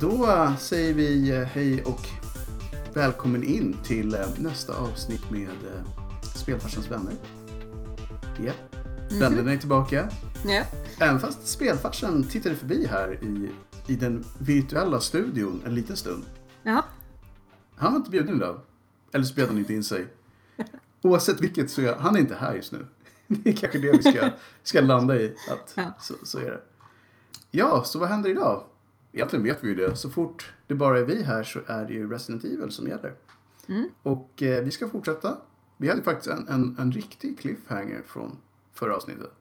Då säger vi eh, hej och välkommen in till eh, nästa avsnitt med eh, Spelfarsans vänner. Ja, vännerna är tillbaka. Ja. Även fast Spelfarsan tittade förbi här i, i den virtuella studion en liten stund. Ja. Han var inte bjuden idag. Eller så bjöd han inte in sig. Oavsett vilket så är han är inte här just nu. Det är kanske det vi ska, ska landa i. Att Ja. så, så är det. Ja, så vad händer idag? Egentligen vet vi ju det. Så fort det bara är vi här så är det ju Resident Evil som gäller. Och eh, vi ska fortsätta. Vi hade faktiskt en, en, en riktig cliffhanger från förra avsnittet.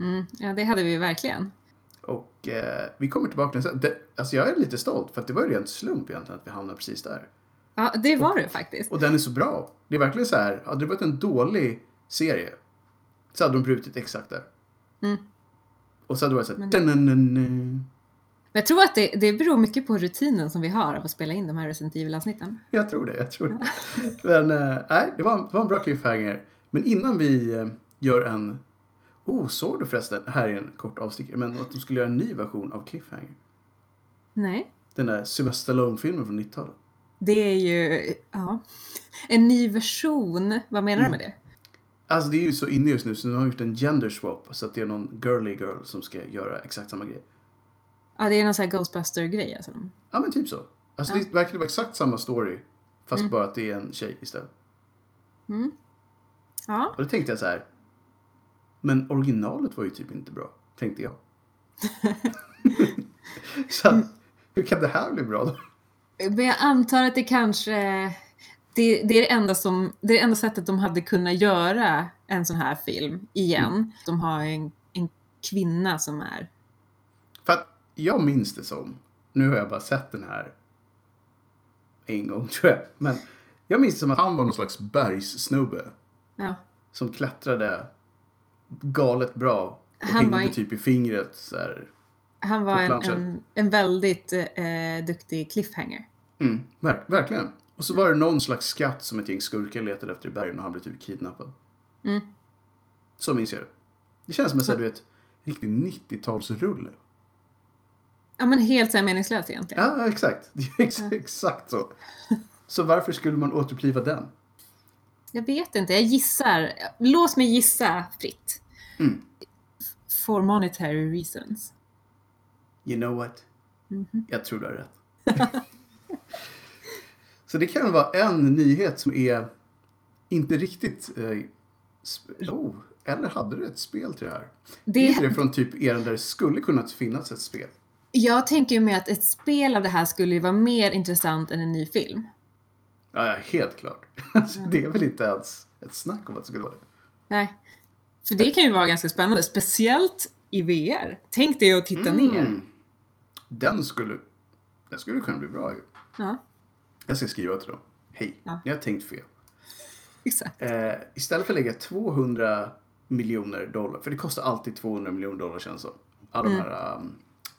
Mm, ja, det hade vi verkligen. Och eh, vi kommer tillbaka till den sen. Det, alltså jag är lite stolt för att det var ju rent slump egentligen att vi hamnade precis där. Ja, det var det faktiskt. Och den är så bra. Det är verkligen så här, hade det varit en dålig serie så hade de brutit exakt där. Mm. Och så hade det varit så här, Men- "Tananana." Men jag tror att det, det beror mycket på rutinen som vi har av att spela in de här Resident Evil-avsnitten. jag tror det, jag tror det. Men eh, nej, det var, det var en bra cliffhanger. Men innan vi eh, gör en, oh såg du förresten, här är en kort avstickare, men att de skulle göra en ny version av cliffhanger. Nej, Den där Sylvester Stallone-filmen från 90-talet. det är ju ja, en ny version. Vad menar du Mm. med det? Alltså det är ju så inne just nu så de har gjort en gender swap så att det är någon girly girl som ska göra exakt samma grej. Ja, det är någon sån här Ghostbuster-grej alltså. Ja men typ så. Alltså det verkar vara exakt samma story fast Mm. bara att det är en tjej istället. Ja, Och då tänkte jag så här. Men originalet var ju typ inte bra, tänkte jag. så att, hur kan det här bli bra då? men jag antar att det kanske... Det, det, är det, enda som, det är det enda sättet de hade kunnat göra en sån här film igen. Mm. De har ju en, en kvinna som är... För att jag minns det som, nu har jag bara sett den här en gång tror jag, men jag minns det som att han var någon slags bergssnubbe Ja, som klättrade galet bra och Han var hängde i- typ i fingret så här. Han var På en, planscher. en, en väldigt eh, duktig cliffhanger. Mm, verk, verkligen. Och så var det någon slags skatt som ett gäng skurkar letade efter i bergen och han blev typ kidnappad. Mm. Så minns jag det. Det känns som en sån här, du vet, riktig 90-talsrulle. Ja, men helt så här meningslös egentligen. Ja, exakt. Det är ex- exakt så. Så varför skulle man återuppliva den? Jag vet inte, jag gissar. Låt mig gissa fritt. Mm. For monetary reasons. You know what? Jag tror du har rätt. så det kan vara en nyhet som är inte riktigt... Eh, sp- oh, eller hade du ett spel till det här? Det är Det, det från typ eran där det skulle kunna finnas ett spel. jag tänker ju med att ett spel av det här skulle ju vara mer intressant än en ny film. Ja, ja, helt klart. Alltså, det är väl inte ens ett snack om att det skulle vara det. Nej. För det kan ju vara ganska spännande, speciellt i VR. Tänk dig att titta Mm. ner. Den skulle, den skulle kunna bli bra ju. Ja, Jag ska skriva till dem. Hej, Ja. ni har tänkt fel. exakt. Eh, istället för att lägga 200 miljoner dollar, för det kostar alltid 200 miljoner dollar känns det som. Alla de här um,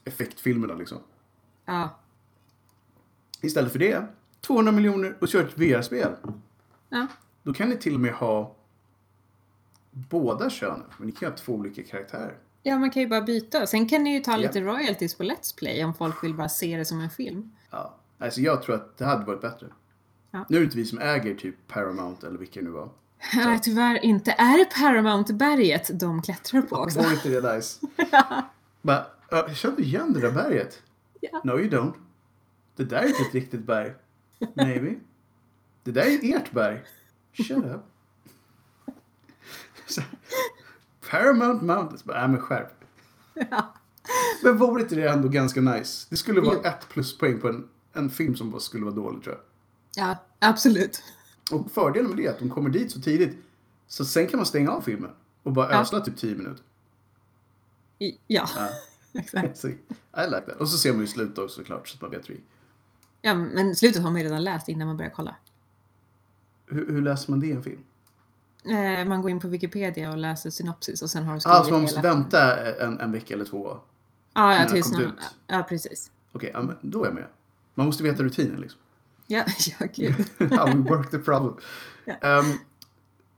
effektfilmerna liksom. Ja. Istället för det, 200 miljoner och kör ett VR-spel. ja. Då kan ni till och med ha båda könen, men ni kan ha två olika karaktärer. Ja, man kan ju bara byta. Sen kan ni ju ta Ja. lite royalties på Let's Play om folk vill bara se det som en film. Ja. Alltså jag tror att det hade varit bättre. Ja. Nu är det inte vi som äger typ Paramount eller vilka det nu var. Nej, tyvärr inte. Är det Paramount-berget de klättrar på också? Var inte det nice? Bara, "Ö, jag känner igen det där berget. Ja. No you don't. Det där är inte ett riktigt berg. Maybe. Det där är ert berg. Shut up. Så, Paramount Mountains. Bara, Nej men skärp. Men vore inte det ändå ganska nice? Det skulle vara Jo. ett pluspoäng på en, en film som bara skulle vara dålig tror jag. Ja, absolut. Och fördelen med det är att de kommer dit så tidigt så sen kan man stänga av filmen och bara Ja. ösla typ 10 minuter. I- Ja, Ja. exakt. Så, I like that. Och så ser man ju slutet också såklart så att man vet hur Ja, men slutet har man ju redan läst innan man börjar kolla. hur, hur läser man det i en film? Eh, man går in på Wikipedia och läser synopsis och sen har de Ja, skrivit så Alltså, man måste hela- vänta en, en vecka eller två. Okej, Ja, när ja, det tills kom man... ut. Ja, precis. ja, men då är jag med. Man måste veta rutinen liksom. Ja, ja gud. How we work the problem. Ehm,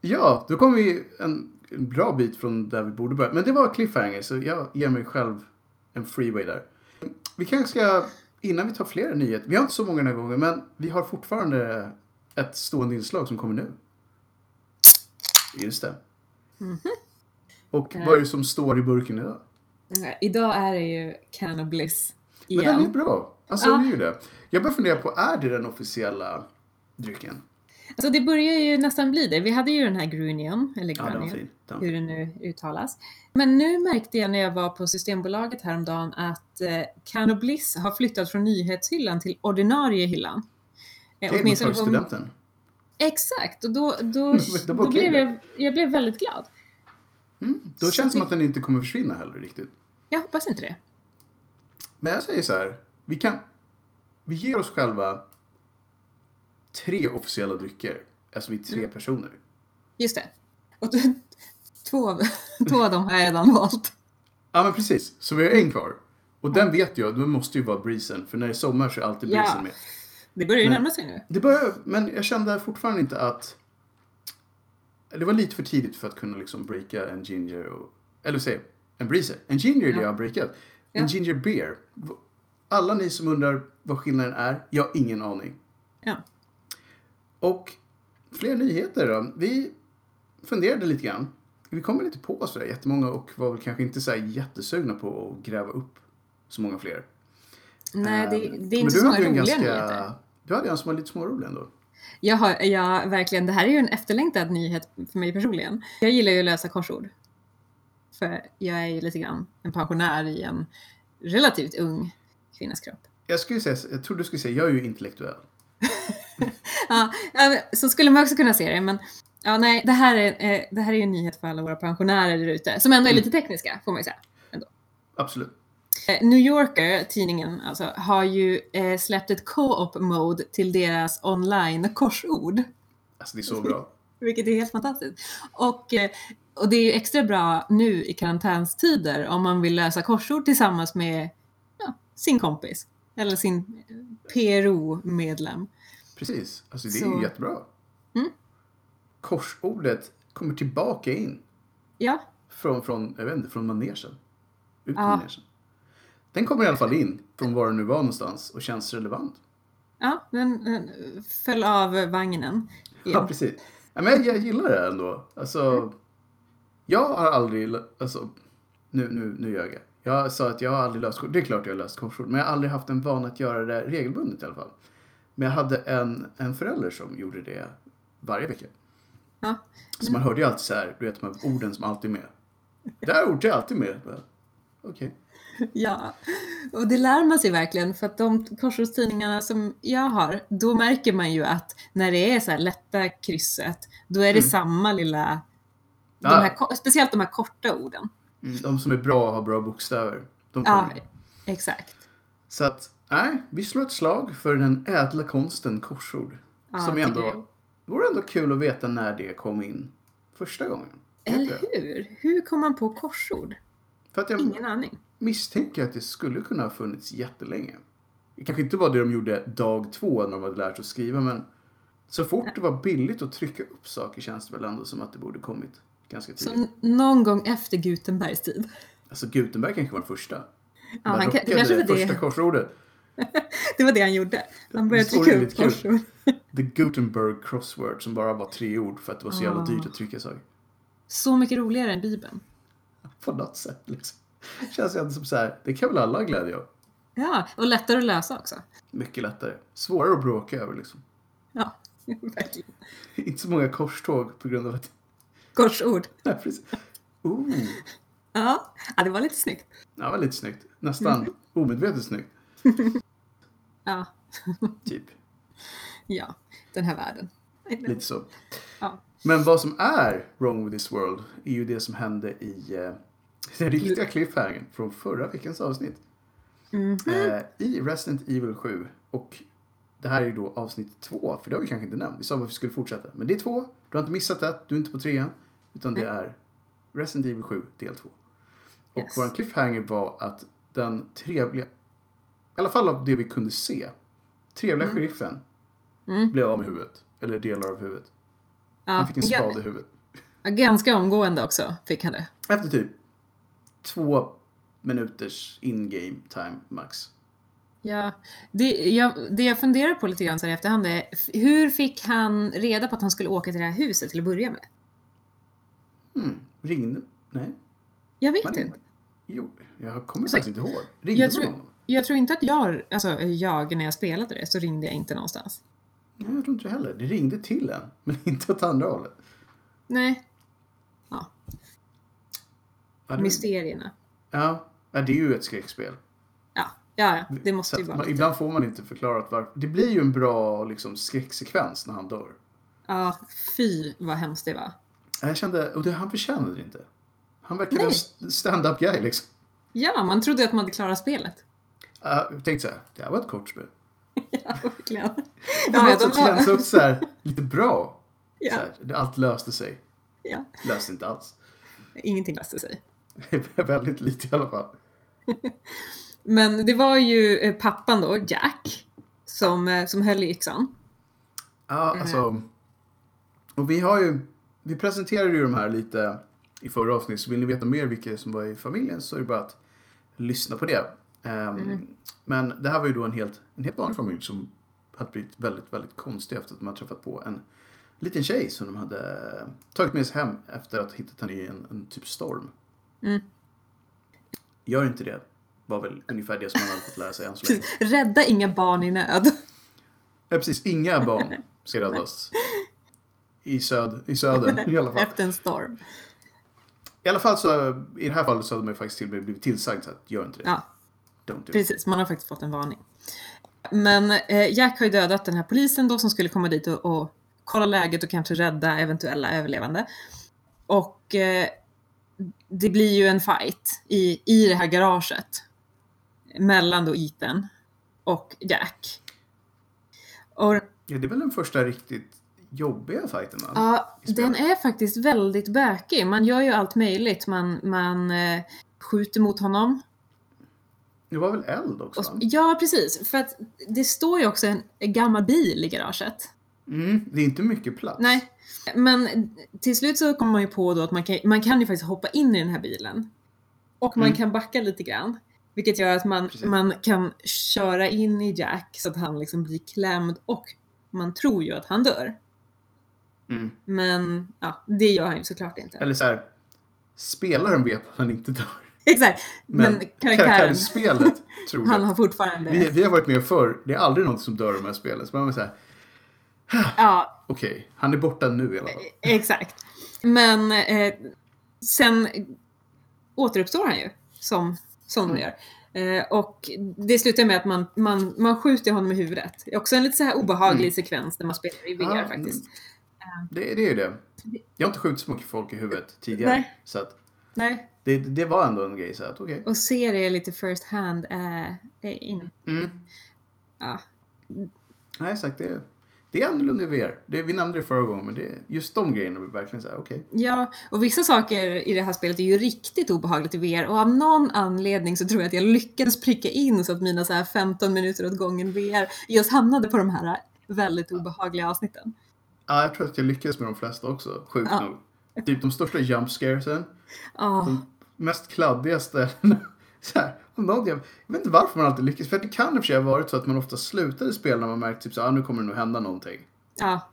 ja, då kom vi en, en bra bit från där vi borde börja. Men det var cliffhanger, så jag ger mig själv en freeway där. Vi kanske ska innan vi tar fler nyheter, vi har inte så många den här gången, men vi har fortfarande ett stående inslag som kommer nu. Just det. Mhm. Och vad är det som står i burken idag? Nej, Eh, Idag är det ju Cannabis Men den är igen. bra. Alltså Ja. det är ju det. Jag börjar fundera på, är det den officiella drycken? Alltså det börjar ju nästan bli det. Vi hade ju den här Grunion, eller Ja, den var Grunion, fin. Den var hur fin. det nu uttalas. Men nu märkte jag när jag var på Systembolaget häromdagen att eh, Cannabis har flyttat från nyhetshyllan till ordinarie hyllan. Eh, Okej, men åtminstone för på- studenten. Exakt, och då, då, Det då, var okej blev då. jag, jag blev väldigt glad. Mm. Då Så känns det som det- att den inte kommer försvinna heller riktigt. Jag hoppas inte det. Men jag säger så här. Vi kan... Vi ger oss själva tre officiella drycker. Alltså vi är Mm. tre personer. Just det. Och då, två, av- två av dem har jag redan valt. Ja men precis. Så vi har en kvar. Och den vet jag, den måste ju vara breezen. För när det är sommar så är alltid Ja. breezen med. Det börjar ju Men- närma sig nu. Det börjar, men jag kände fortfarande inte att... Det var lite för tidigt för att kunna liksom breaka en ginger och... Eller säg, en breezer. En ginger är det Ja. jag har breakat. En Ja. ginger beer. Alla ni som undrar vad skillnaden är, jag har ingen aning. Ja. Och fler nyheter då. Vi funderade lite grann. Vi kommer lite på oss för det jättemånga och var väl kanske inte så här jättesugna på att gräva upp så många fler. Nej, det, Eh, det är men inte du så många hade ju en roliga ganska- nyheter. Du hade ju en som var lite smårolig ändå. Jag har, ja, verkligen. Det här är ju en efterlängtad nyhet för mig personligen. Jag gillar ju att lösa korsord. För jag är ju lite grann en pensionär i en relativt ung kvinnas kropp. Jag, skulle säga, jag tror du skulle säga, jag är ju intellektuell. Ja, ja, men så skulle man också kunna se det, men ja, nej, det här är, eh, det här är ju en nyhet för alla våra pensionärer där ute, som ändå är lite tekniska, får man ju säga. Absolut. Eh, New Yorker, tidningen alltså, har ju eh, släppt ett co-op mode till deras online-korsord. Alltså det är så bra. Vilket är helt fantastiskt. Och, eh, och det är ju extra bra nu i karantänstider om man vill lösa korsord tillsammans med ja, sin kompis. Eller sin eh, PRO-medlem. Precis. Alltså det är Så- ju jättebra. Mm. Korsordet kommer tillbaka in Ja, från, från, jag vet inte, från manegen. Ut på Ja. manegen. Den kommer i alla fall in från var den nu var någonstans och känns relevant. ja den, den föll av vagnen. Ja, precis. Ja, men jag, jag gillar det ändå. Alltså, jag har aldrig... lö- Alltså, nu, nu, nu gör jag. Jag sa att jag har aldrig löst korsord. Det är klart jag har löst korsord. Men jag har aldrig haft en vana att göra det regelbundet i alla fall. Men jag hade en, en förälder som gjorde det varje vecka. Ja. Så man hörde ju alltid så här, du vet de här orden som alltid är med. Det här ordet är alltid med. Bara, Okej. Ja, och det lär man sig verkligen för att de korsordstidningarna som jag har, då märker man ju att när det är så här lätta krysset, då är det samma lilla, de Ja. här, ko- speciellt de här korta orden. De som är bra och har bra bokstäver. De kommer Ja, med. exakt. Så att, nej, vi slår ett slag för den ädla konsten korsord. Ja, som det ändå, tycker jag. vore ändå kul att veta när det kom in första gången. Eller hur? Hur kom man på korsord? För att jag Ingen aning. misstänker att det skulle kunna ha funnits jättelänge. Det kanske inte var det de gjorde dag två när de hade lärt sig att skriva, men så fort det var billigt att trycka upp saker känns det väl ändå som att det borde kommit ganska Så tidigt. n- någon gång efter Gutenbergs tid. Alltså Gutenberg kanske var den första. Ja, Bara han, kan- det, rockade kanske var första det, korsordet. det var det han gjorde. Han började Historien är trycka upp lite kul. korsord. The Gutenberg Crossword som bara var tre ord för att det var så jävla Ah. dyrt att trycka saker. Så mycket roligare än Bibeln. På något sätt liksom. Känns ju ändå som så här, det kan väl alla ha glädje av. Ja, och lättare att lösa också. Mycket lättare. Svårare att bråka över liksom. Ja, verkligen. Inte så många korståg på grund av att... Korsord. Nej, precis. Ooh. Ja, ja det var lite snyggt. Ja, det var lite snyggt. Nästan omedvetet snyggt. Ja, Typ. ja, den här världen. Lite så. Ja. Men vad som är wrong with this world är ju det som hände i eh, den riktiga cliffhangern från förra veckans avsnitt. Mm. Eh, I Resident Evil 7. Och det här är ju då avsnitt två, för det har vi kanske inte nämnt. Vi sa att vi skulle fortsätta. Men det är två. Du har inte missat ett, du är inte på trean. Utan det är Resident Evil 7 del 2. Och Yes. vår cliffhanger var att den trevliga, i alla fall av det vi kunde se, trevliga sheriffen Mm. blev av med huvudet. Eller delar av huvudet. Han Ja, fick en gan- skada i huvudet. ja, ganska omgående också fick han det. Efter typ två minuters in-game time max. Ja, det, jag, det jag funderar på lite grann så här i efterhand är f- hur fick han reda på att han skulle åka till det här huset till att börja med? Mm. Ringde? Nej. Jag vet Man inte. ringde. Jo, jag kommer Jag faktiskt inte ihåg. Ringde Jag man tror, honom? jag tror inte att jag, alltså jag när jag spelade det så ringde jag inte någonstans. Nej, jag tror inte det heller. Det ringde till en, men inte åt andra hållet. Nej, Ja, det- mysterierna. Ja, ja, det är ju ett skräckspel. Ja, ja, ja, det Så måste ju att vara. man, ibland får man inte förklarat varför. Det blir ju en bra liksom, skräcksekvens när han dör. Ja, fy vad hemskt det var. Jag kände, och det, han förtjänade det inte. Han verkade Nej. en st- stand-up guy liksom. Ja, man trodde att man hade klarat spelet. Uh, jag tänkte så här, det här var ett kort spel. Ja, verkligen. Det var Ja, så de har- känns också så här, lite bra. Så ja, här, det- allt löste sig. ja. Löste inte alls. Ingenting löste sig. Väldigt lite i alla fall. Men det var ju eh, pappan då, Jack, som, eh, som höll i yxan. Ja, alltså. Och vi har ju, vi presenterade ju de här lite i förra avsnittet. Så vill ni veta mer vilka som var i familjen så är det bara att lyssna på det. Ehm, Men det här var ju då en helt, en helt vanlig familj som hade blivit väldigt, väldigt konstig efter att de hade träffat på en liten tjej som de hade tagit med sig hem efter att ha hittat henne i en, en typ storm. Mm. Gör inte det, var väl ungefär det som man hade fått lära sig än så länge. Rädda inga barn i nöd. Ja, precis. Inga barn ska räddas. I, söd, I södern i alla fall. Efter en storm. I alla fall så, i det här fallet så hade man ju faktiskt till och med blivit tillsagd så att gör inte det. Ja, Don't do it. precis. Man har faktiskt fått en varning. Men eh, Jack har ju dödat den här polisen då som skulle komma dit och, och kolla läget och kanske rädda eventuella överlevande. Och eh, det blir ju en fight i, i det här garaget. Mellan då Ethan och Jack. Och Ja, det är väl den första riktigt jobbiga fighten va? Ja, i spelet. den är faktiskt väldigt bökig. Man gör ju allt möjligt. Man, man eh, skjuter mot honom. Det var väl eld också? Och, va? ja, precis. För att det står ju också en gammal bil i garaget. Mm, det är inte mycket plats. Nej, men till slut så kommer man ju på då att man kan, man kan ju faktiskt hoppa in i den här bilen. Och man Mm. kan backa lite grann. Vilket gör att man, Precis. man kan köra in i Jack så att han liksom blir klämd och man tror ju att han dör. Mm. Men ja, det gör han ju såklart inte. Eller så här, spelaren vet att han inte dör. Exakt. Men, karaktären, i spelet tror han det. har fortfarande... Vi, vi har varit med förr, det är aldrig någon som dör i de här spelen. Så man är så här, Ja, okej, han är borta nu i alla fall. Eh, exakt. Men eh, sen återuppstår han ju, som, som de gör. Eh, och det slutar med att man, man, man skjuter honom i huvudet. Det är också en lite så här obehaglig sekvens när man spelar i VR Ja, faktiskt. mm. Det, det är ju det. Jag har inte skjutit så mycket folk i huvudet tidigare. Nej. Så att Nej. det, det var ändå en grej så att okej. Och ser det lite first hand eh, är in. Mm. Ja. Nej, exakt. Det, det är annorlunda i VR. Det, vi nämnde det förra gången, men det, just de grejerna blir verkligen så här, okej. ja, och vissa saker i det här spelet är ju riktigt obehagligt i VR och av någon anledning så tror jag att jag lyckades pricka in så att mina så här 15 minuter åt gången VR just hamnade på de här väldigt obehagliga avsnitten. Ja, jag tror att jag lyckades med de flesta också, sjukt Ja. nog. Typ de största jump scaresen, Ja, Mm. mest kladdiga ställena. Så här, om någon, jag vet inte varför man alltid lyckas, för det kan i och för sig ha varit så att man ofta slutade spela när man märkte typ så här, ah, nu kommer det nog hända någonting. ja,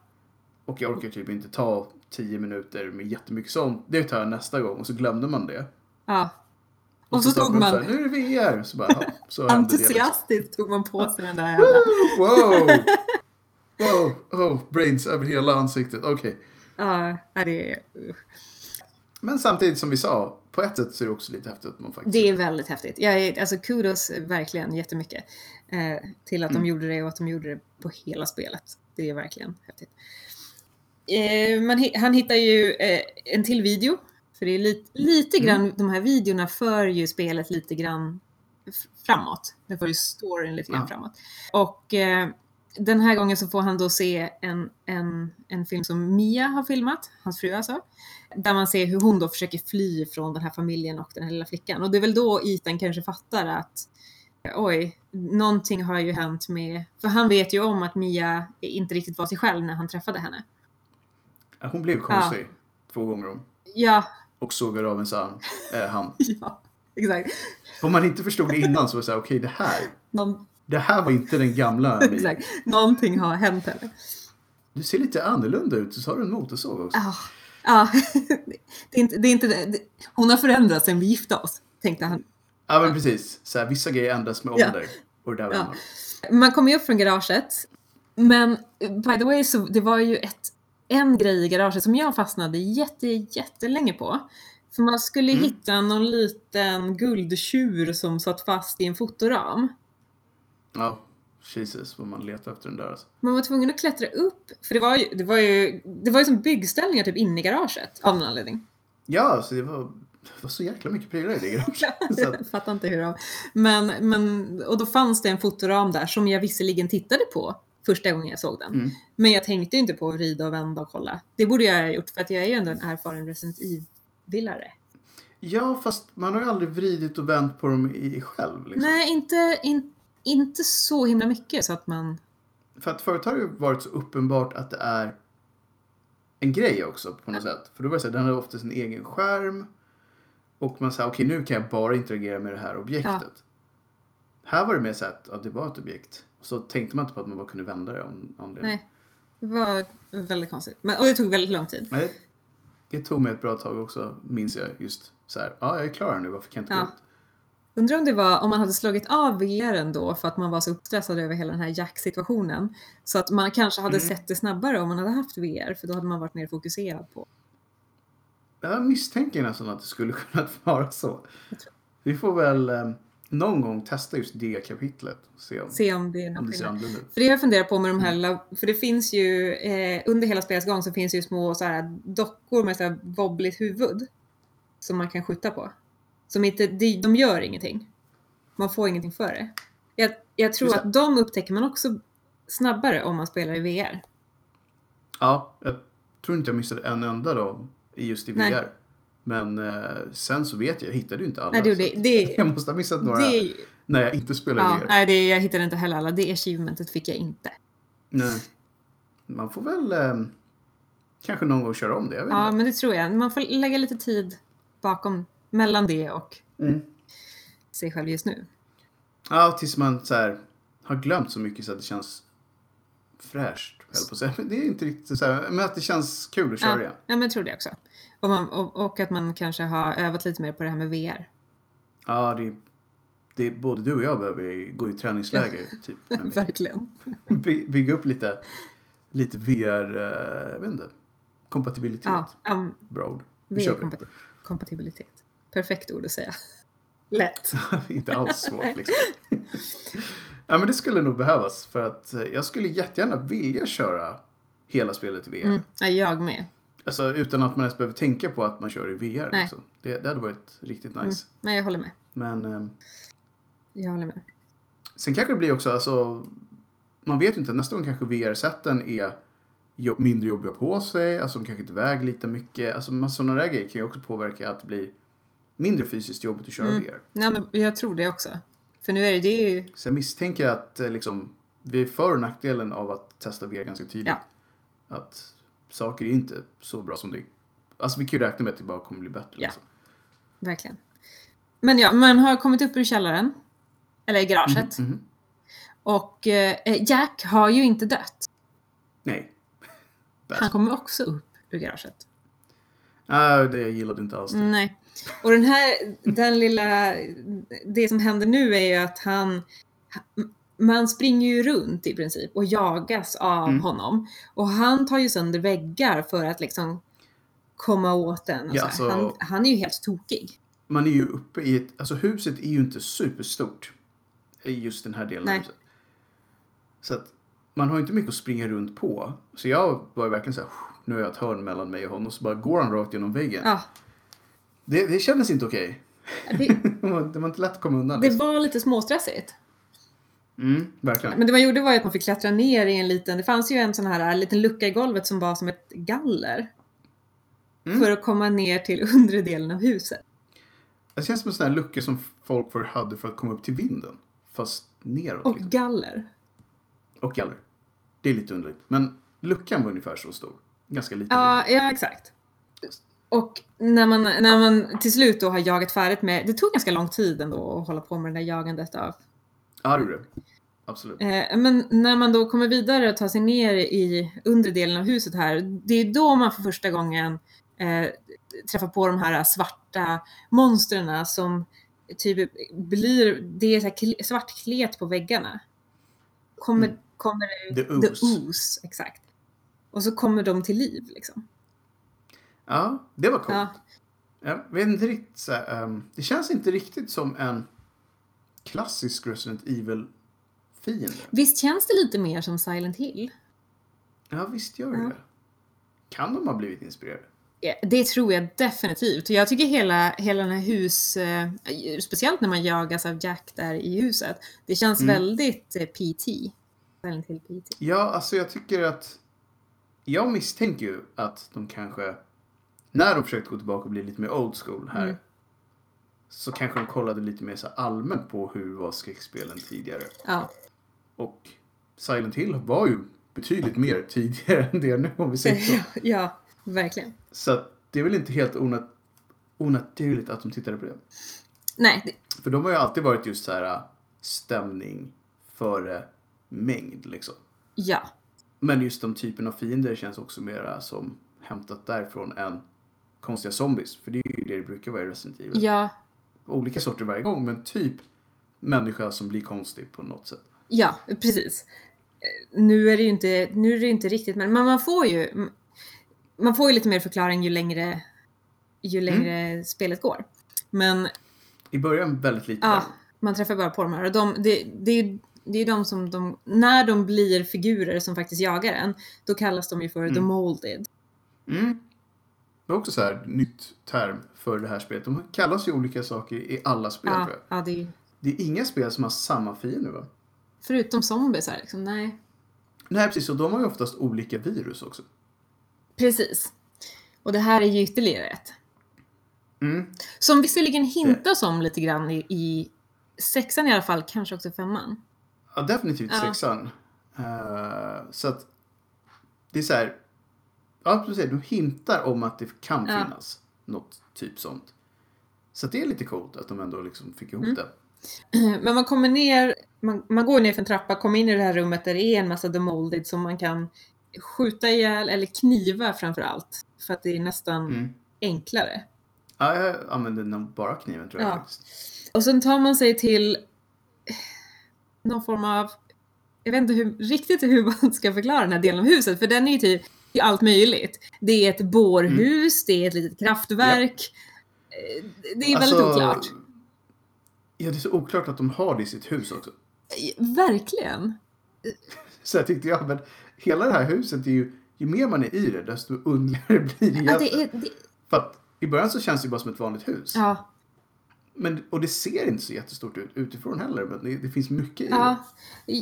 Och jag orkar typ inte ta 10 minuter med jättemycket sånt. Det tar jag nästa gång och så glömde man det. ja. Och så sa tog de så här, man Nu är det VR! Så bara, ja, så hände det. liksom. entusiastiskt tog man på sig den där jävla... Wow! Wow! Oh, brains över hela ansiktet. Okej. Ja, nej, det är, Men samtidigt som vi sa, på ett sätt så är det också lite häftigt att man faktiskt... det är väldigt häftigt. Jag är, alltså kudos verkligen jättemycket eh, till att de gjorde det och att de gjorde det på hela spelet. Det är verkligen häftigt. Eh, man, hi- han hittar ju eh, en till video. För det är lite, lite grann, de här videorna för ju spelet lite grann f- framåt. Den för ju storyn lite grann Ja. framåt. Och eh, den här gången så får han då se en, en, en film som Mia har filmat, hans fru alltså. Där man ser hur hon då försöker fly från den här familjen och den här lilla flickan. Och det är väl då Ethan kanske fattar att oj, någonting har ju hänt med... För han vet ju om att Mia inte riktigt var sig själv när han träffade henne. Hon blev konstig två gånger om. Ja, Och sågade av en arm. Eh, hand. ja, exakt. Om man inte förstod det innan så var det så här, okej det här. Någon, Det här var inte den gamla Mi. Exakt. Någonting har hänt henne. Du ser lite annorlunda ut. Så har du en motorsåg också. Ja, ja. Det är inte, det är inte, det. hon har förändrats sen vi gifte oss, tänkte han. Ja, men precis. Så här, vissa grejer ändras med Ja. ålder. Och det där var Ja. man. Man kom ju upp från garaget. Men by the way, så det var ju ett, en grej i garaget som jag fastnade jätte, jättelänge på. För man skulle Mm. hitta någon liten guldtjur som satt fast i en fotoram. Ja, Jesus vad man letar efter den där. Alltså. Man var tvungen att klättra upp, för det var ju, det var ju, det var ju som byggställningar typ inne i garaget av någon anledning. Ja, så det var, det var så jäkla mycket prylar i det garaget. Så att, Jag fattar inte hur det var. Men, men, och då fanns det en fotoram där som jag visserligen tittade på första gången jag såg den. mm. Men jag tänkte ju inte på att vrida och vända och kolla. Det borde jag ha gjort för att jag är ju ändå en erfaren Resident Evil-villare. Ja, fast man har ju aldrig vridit och vänt på dem i själv. Liksom. Nej, inte, in, inte så himla mycket så att man... För att förut har det ju varit så uppenbart att det är en grej också på något sätt. För då var det så här, den hade ofta sin egen skärm. Och man sa, okej nu kan jag bara interagera med det här objektet. Här var det mer så att ja, det var ett objekt. Och så tänkte man inte på att man bara kunde vända det om, om det. Nej. Det var väldigt konstigt. Men, och det tog väldigt lång tid. Nej, det tog mig ett bra tag också, minns jag. Just så här, ja jag är klar här nu, varför kan jag inte Ja. gå ut? Undrar om det var om man hade slagit av VRen då för att man var så uppstressad över hela den här jack-situationen. Så att man kanske hade Mm. sett det snabbare om man hade haft VR för då hade man varit mer fokuserad på. Jag misstänker nästan att det skulle kunna vara så. Jag tror- Vi får väl eh, någon gång testa just det kapitlet. och Se om, Se om det är någon om det ser skillnad. annorlunda ut. För det har jag funderat på med de här, lab- för det finns ju eh, under hela spelets gång så finns det ju små så här, dockor med så här wobbligt huvud som man kan skjuta på. Som inte, de, de gör ingenting. Man får ingenting för det. Jag, jag tror Just att de upptäcker man också snabbare om man spelar i VR. Ja, jag tror inte jag missade en enda då i just i VR. Nej. Men eh, sen så vet jag, jag hittade ju inte alla. Nej, det, gjorde- så att- det, Jag måste ha missat några det, när jag inte spelade ja, VR. nej, det, jag hittade inte heller alla. Det achievementet fick jag inte. Nej. Man får väl eh, kanske någon gång köra om det. Jag vet Ja, inte. men det tror jag. Man får lägga lite tid bakom, mellan det och Mm. sig själv just nu. Ja, tills man så här, har glömt så mycket så att det känns fräscht. höll på att säga. Men Det är inte riktigt så här, men att det känns kul att köra Ja, igen. ja men jag tror det också. Och, man, och, och att man kanske har övat lite mer på det här med VR. Ja, det, det, både du och jag behöver gå i träningsläger. Typ, Verkligen. By, bygga upp lite, lite VR, eh, jag vet inte, kompatibilitet. Ja, um, Bra ord. Vi kör på det. VR-kompatibilitet. Perfekt ord att säga. Lätt. Inte alls svårt liksom. ja, men det skulle nog behövas för att eh, jag skulle jättegärna vilja köra hela spelet i VR. Mm. Ja, jag med. Alltså utan att man ens behöver tänka på att man kör i VR. Nej. Mm. Liksom. Det, det hade varit riktigt nice. Nej, jag håller med. Men eh, Jag håller med. sen kanske det blir också, alltså, man vet ju inte, nästa gång kanske VR-sätten är jo- mindre jobbiga på sig, alltså de kanske inte väger lika mycket. Alltså massa sådana där grejer kan ju också påverka att det blir mindre fysiskt jobbigt att köra Mm. VR. Nej, men jag tror det också. För nu är det, det är ju... Sen misstänker jag att eh, liksom, vi är för och nackdelen av att testa VR ganska tydligt. Ja. Att saker är inte så bra som det Alltså vi kan ju räkna med att det bara kommer bli bättre. Ja. Liksom. Verkligen. Men ja, man har kommit upp ur källaren. Eller i garaget. Mhm, mhm. Och eh, Jack har ju inte dött. Nej. Bäst. Han kommer också upp ur garaget. Nej, det jag gillade inte alls. det. Nej. Och den här, den lilla, det som händer nu är ju att han, man springer ju runt i princip och jagas av Mm. honom. Och han tar ju sönder väggar för att liksom komma åt den. Och Ja, alltså- så här. så- han, han är ju helt tokig. Man är ju uppe i ett... Alltså huset är ju inte superstort. I just den här delen Nej. av huset. Så att man har ju inte mycket att springa runt på. Så jag var ju verkligen så här, nu har jag ett hörn mellan mig och honom. Så bara går han rakt genom väggen. Ja, Det, det kändes inte okej. det, det var det var inte lätt att komma undan. det liksom. var lite småstressigt. Mm, verkligen. Men det man gjorde var ju att man fick klättra ner i en liten, det fanns ju en sån här äh, liten lucka i golvet som var som ett galler. Mm. För att komma ner till undre delen av huset. Det känns som en sån här lucka som folk förr hade för att komma upp till vinden. Fast neråt. Och liksom. galler. och galler. Det är lite underligt. Men luckan var ungefär så stor. Ganska liten. Ja, ja exakt. Och när man, när man till slut då har jagat färdigt med, det tog ganska lång tid ändå att hålla på med det där jagandet av Ja, det gjorde det. absolut. Eh, Men när man då kommer vidare och tar sig ner i undre delen av huset här, det är då man för första gången eh, träffar på de här svarta monstren som typ blir, det är så här kle- svart klet på väggarna. Kommer, Mm. kommer The the Ooze. ooze, exakt. Och så kommer de till liv liksom. Ja, det var coolt. Ja. Jag vet inte riktigt, så här, ehm, det känns inte riktigt som en klassisk Resident Evil-fiende. Visst känns det lite mer som Silent Hill? Ja, visst gör det Ja. det. Kan de ha blivit inspirerade? Ja, Det tror jag definitivt. Jag tycker hela, hela den här hus... Eh, speciellt när man jagas av Jack där i huset. Det känns Mm. väldigt eh, PT. Silent Hill PT. Ja, alltså jag tycker att... Jag misstänker ju att de kanske... När de försökte gå tillbaka och bli lite mer old school här. Mm. Så kanske de kollade lite mer så här allmänt på hur var skräckspelen tidigare. Ja, Och Silent Hill var ju betydligt mer tidigare än det är nu om vi säger Typ så. ja verkligen. Så att det är väl inte helt onat- onaturligt att de tittade på det. Nej, det- För de har ju alltid varit just så här äh, stämning före mängd liksom. ja. Men just de typen av fiender känns också mera som hämtat därifrån än konstiga zombies. För det är ju det det brukar vara i Resident Evil. Ja, Olika sorter varje gång, men typ människa som blir konstig på något sätt. ja precis. Eh, Nu är det ju inte, nu är det inte riktigt, men men man får ju... Man får ju lite mer förklaring ju längre, ju Mm. längre spelet går. Men I början väldigt lite. Ja, man träffar bara på de här. Och de, det, det, är- det är de som de, när de blir figurer som faktiskt jagar en, då kallas de ju för the Mm. molded. Mm. Det är också så här nytt term för det här spelet. De kallas ju olika saker i alla spel Ja, tror jag. ja, det är ju, Det är inga spel som har samma fiende va? förutom zombiesar liksom, nej. Nej precis, och de har ju oftast olika virus också. Precis. Och det här är ju ytterligare ett. Mm. Som visserligen hintas om lite grann i, i sexan i alla fall, kanske också femman. Ja, definitivt Ja. sexan. Eh, så att det är så här. Ja, precis. Du hintar om att det kan Ja. finnas något typ sånt. Så att det är lite coolt att de ändå liksom fick ihop Mm. det. Men man kommer ner, man, man går ner för en trappa, kommer in i det här rummet där det är en massa The Molded som man kan skjuta ihjäl eller kniva framför allt. För att det är nästan Mm. enklare. Ja, jag använde nog bara kniven tror jag Ja. faktiskt. Och sen tar man sig till eh, någon form av, jag vet inte hur, riktigt hur man ska förklara den här delen av huset, för den är ju typ det är allt möjligt. Det är ett bårhus, det är ett litet kraftverk. Eh, Det är Alltså- väldigt oklart. Ja, det är så oklart att de har det i sitt hus också. Eh, Verkligen. Så jag tyckte jag, men hela det här huset är ju, ju mer man är i det desto underligare blir det egentligen. Ja, det är, det, För att i början så känns det ju bara som ett vanligt hus. ja, Men, och det ser inte så jättestort ut utifrån heller, men det, det finns mycket i ja. det.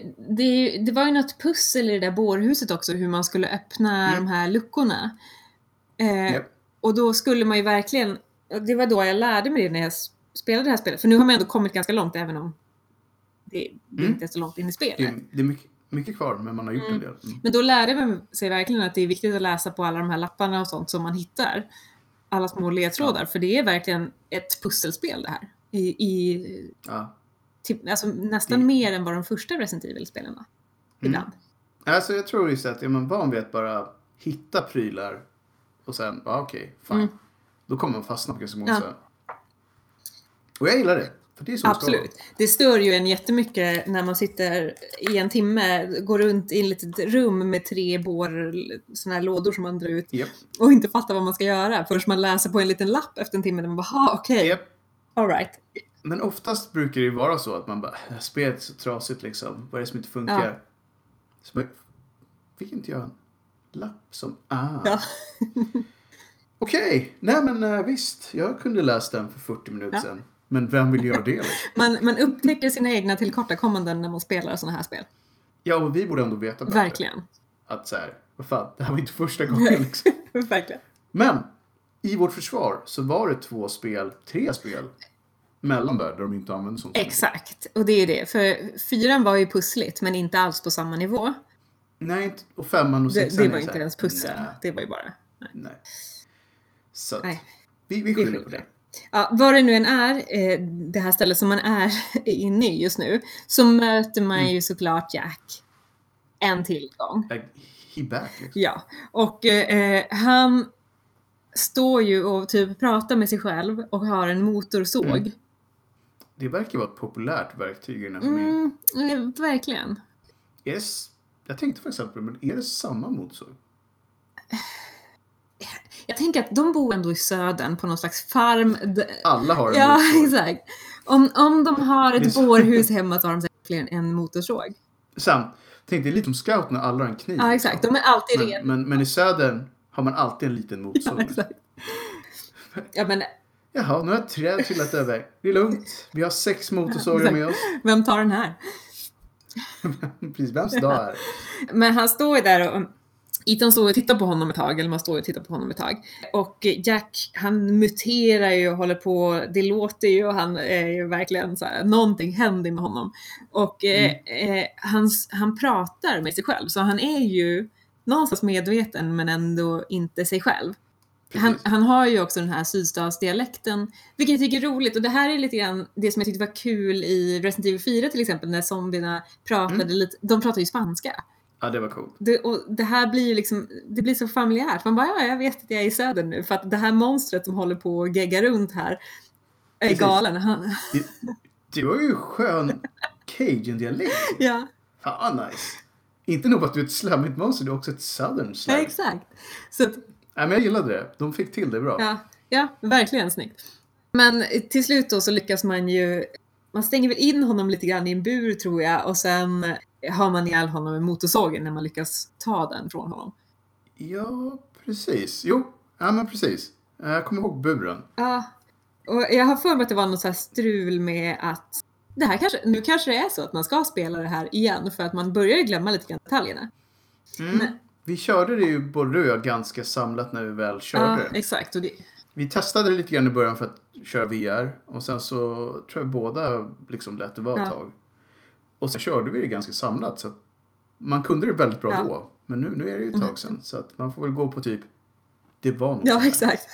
Eh, Det, är ju- det var ju något pussel i det där bårhuset också, hur man skulle öppna Mm. de här luckorna. Eh, Japp. Och då skulle man ju verkligen, det var då jag lärde mig det när jag s- spelade det här spelet. För nu har man ändå kommit ganska långt även om det, det Mm. inte är så långt in i Det spelet. är, det är mycket, mycket kvar, men man har gjort Mm. en del. Mm. Men då lärde man sig verkligen att det är viktigt att läsa på alla de här lapparna och sånt som man hittar. Alla små ledtrådar, för det är verkligen ett pusselspel det här. I, i, Ja. typ, alltså nästan Det- mer än vad de första Resident Evil-spelen var. Ibland. Alltså, jag tror just att är man van vid att bara hitta prylar och sen, ja okej, fine. Mm. Då kommer man fastna på Gustav Ja. Måsa. Och jag gillar det, för det är så det ska vara. Absolut. Det stör ju en jättemycket när man sitter i en timme, går runt i ett litet rum med tre bår, såna här lådor som man drar ut Japp, och inte fattar vad man ska göra förrän man läser på en liten lapp efter en timme där man bara, "Ha, okej, japp. all right. Men oftast brukar det ju vara så att man bara, "Äh, spelet är så trasigt liksom. Vad är det som inte funkar? Ja. Så bara, fick inte jag en lapp som, ah. Ja. Okej, nej men eh, visst, jag kunde läst den för 40 minuter Ja. sedan. Men vem vill göra det? liksom? Man, man upptäcker sina egna tillkortakommanden när man spelar sådana här spel. Ja, och vi borde ändå veta bättre. Verkligen. Att så här, vad fan, det här var inte första gången liksom. Verkligen. Men, i vårt försvar så var det två spel, tre spel, mellan där, där de inte använde sånt. Exakt, och det är det. För fyran var ju pussligt, men inte alls på samma nivå. Nej, inte- och femman och Det, sexan det är var så inte här, ens pussel, Nej, det var ju bara... nej. Så att, Nej. vi, vi Vi skyller på skyller. det. Ja, vad det nu än är, eh, det här stället som man är inne i just nu, så möter man Mm. ju såklart Jack en till gång. Like, he back liksom. Ja, och eh, han står ju och typ pratar med sig själv och har en motorsåg. Det verkar vara ett populärt verktyg i den här Mm, familjen. eh, verkligen. Är det, s- jag tänkte faktiskt på det, men är det samma motorsåg? Jag tänker att de bor ändå i södern på någon slags farm. D- Alla har en Ja, motorsåg. exakt. Om, om de har Det är ett så- bårhus hemma så har de säkerligen en motorsåg. Samt, tänkte det är lite som scouterna, alla har en kniv. Ja, liksom. exakt. De är alltid redo. men, men, men i södern har man alltid en liten motorsåg. Ja, exakt. Ja, men Jaha, nu har ett träd trillat över. Det är lugnt. Vi har sex motorsågar Exakt. med oss. vem tar den här? Precis, vems dag är det? Men han står ju där och Ethan står och tittar på honom ett tag, eller man står och tittar på honom ett tag. Och Jack, han muterar ju och håller på, det låter ju och han är ju verkligen så här, någonting händer med honom. Och eh, eh, han, han pratar med sig själv, så han är ju någonstans medveten men ändå inte sig själv. Han, Precis. han har ju också den här sydstatsdialekten, vilket jag tycker är roligt. Och det här är lite grann det som jag tyckte var kul i Resident Evil 4 till exempel, när zombierna pratade Mm. lite, de pratar ju spanska. Ja, det var coolt. Det, och det här blir ju liksom, det blir så familjärt. Man bara, ja, jag vet att jag är i södern nu, för att det här monstret som håller på och geggar runt här är Precis. galen. Han, Det, det var ju skön cajun-dialekt. ja, Fan vad nice. Inte nog att du är ett slammigt monster, du är också ett southern ja, slam. Nej, exakt. Så att, men jag gillade det. De fick till det bra. Ja, ja, verkligen snyggt. Men till slut då så lyckas man ju, man stänger väl in honom lite grann i en bur tror jag och sen har man ihjäl honom med motorsågen när man lyckas ta den från honom. Ja, precis. Jo, ja men precis. Eh, Jag kommer ihåg buren. Ja, och jag har för mig att det var något så här strul med att det här kanske, nu kanske det är så att man ska spela det här igen för att man börjar ju glömma lite grann detaljerna. Men- Mm. Vi körde det ju både du och jag ganska samlat när vi väl Ja, körde. det. exakt. Och det, vi testade det lite grann i början för att köra VR och sen så tror jag båda liksom lät det vara ett Ja. tag. Och sen körde vi det ganska samlat så att man kunde det väldigt bra Ja. Mm. då. Men nu, nu är det ju ett tag sedan så att man får väl gå på typ det var något. Ja, exakt.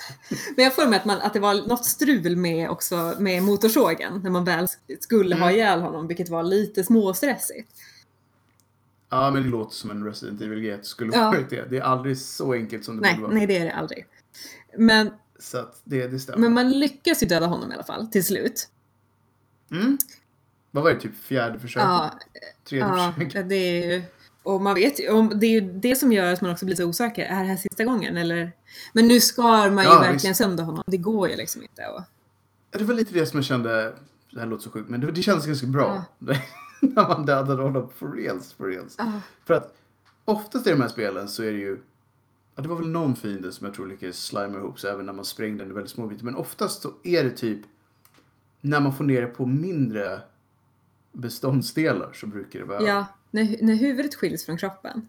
Men jag får mig att, man, att det var något strul med också med motorsågen när man väl skulle ha ihjäl honom, vilket var lite småstressigt. Ja, men det låter som en Resident Evil G1 skulle Ja. varit det. Det är aldrig så enkelt som det Nej, borde vara. nej, det är det aldrig. Men, Så att det, det stämmer. men man lyckas ju döda honom i alla fall till slut. Mm. Vad var det? Typ fjärde försöket? Ja, Tredje ja, försöket? det är ju... Och man vet ju, om det är ju det som gör att man också blir så osäker. Är det här sista gången eller? Men nu skar man ju Ja, verkligen visst. sönder honom. Det går ju liksom inte. Och, Det var lite det som jag kände, det här låter så sjukt, men det, det kändes ganska bra. När man dödade honom for reals, for reals. Ja. För att oftast i de här spelen så är det ju, ja, det var väl någon fiende som jag tror lyckades slima ihop sig även när man sprängde den i väldigt små bitar. Men oftast så är det typ när man får ner det på mindre beståndsdelar så brukar det vara ja, när, när huvudet skiljs från kroppen.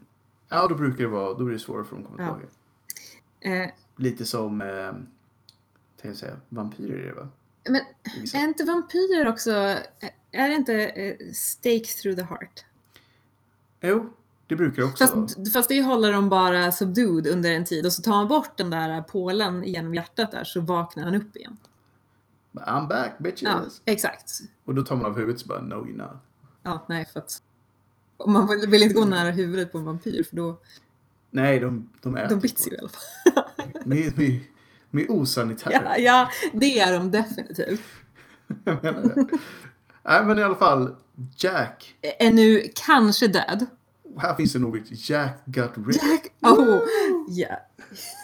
Ja, då brukar det vara, då blir det svårare för dem att komma Ja. tillbaka. Eh, Lite som, eh, tänkte jag säga, vampyrer är det va? men I vissa- Är inte vampyrer också, är det inte eh, stake through the heart? Jo, det brukar det också vara. Fast, fast det håller de bara subdued under en tid och så tar man bort den där pålen genom hjärtat där så vaknar han upp igen. But I'm back bitches! Ja, exakt. Och då tar man av huvudet så bara, no you're not. Ja, nej för att och man vill vill inte gå nära huvudet på en vampyr för då Nej, de, de äter. de på bits ju det. i alla fall. Med, med, med osanitära. Ja, ja, det är de definitivt. Jag menar det. Nej, men i alla fall, Jack. Är nu kanske död. Här finns det nog ett Jack got rich. Oh, ja.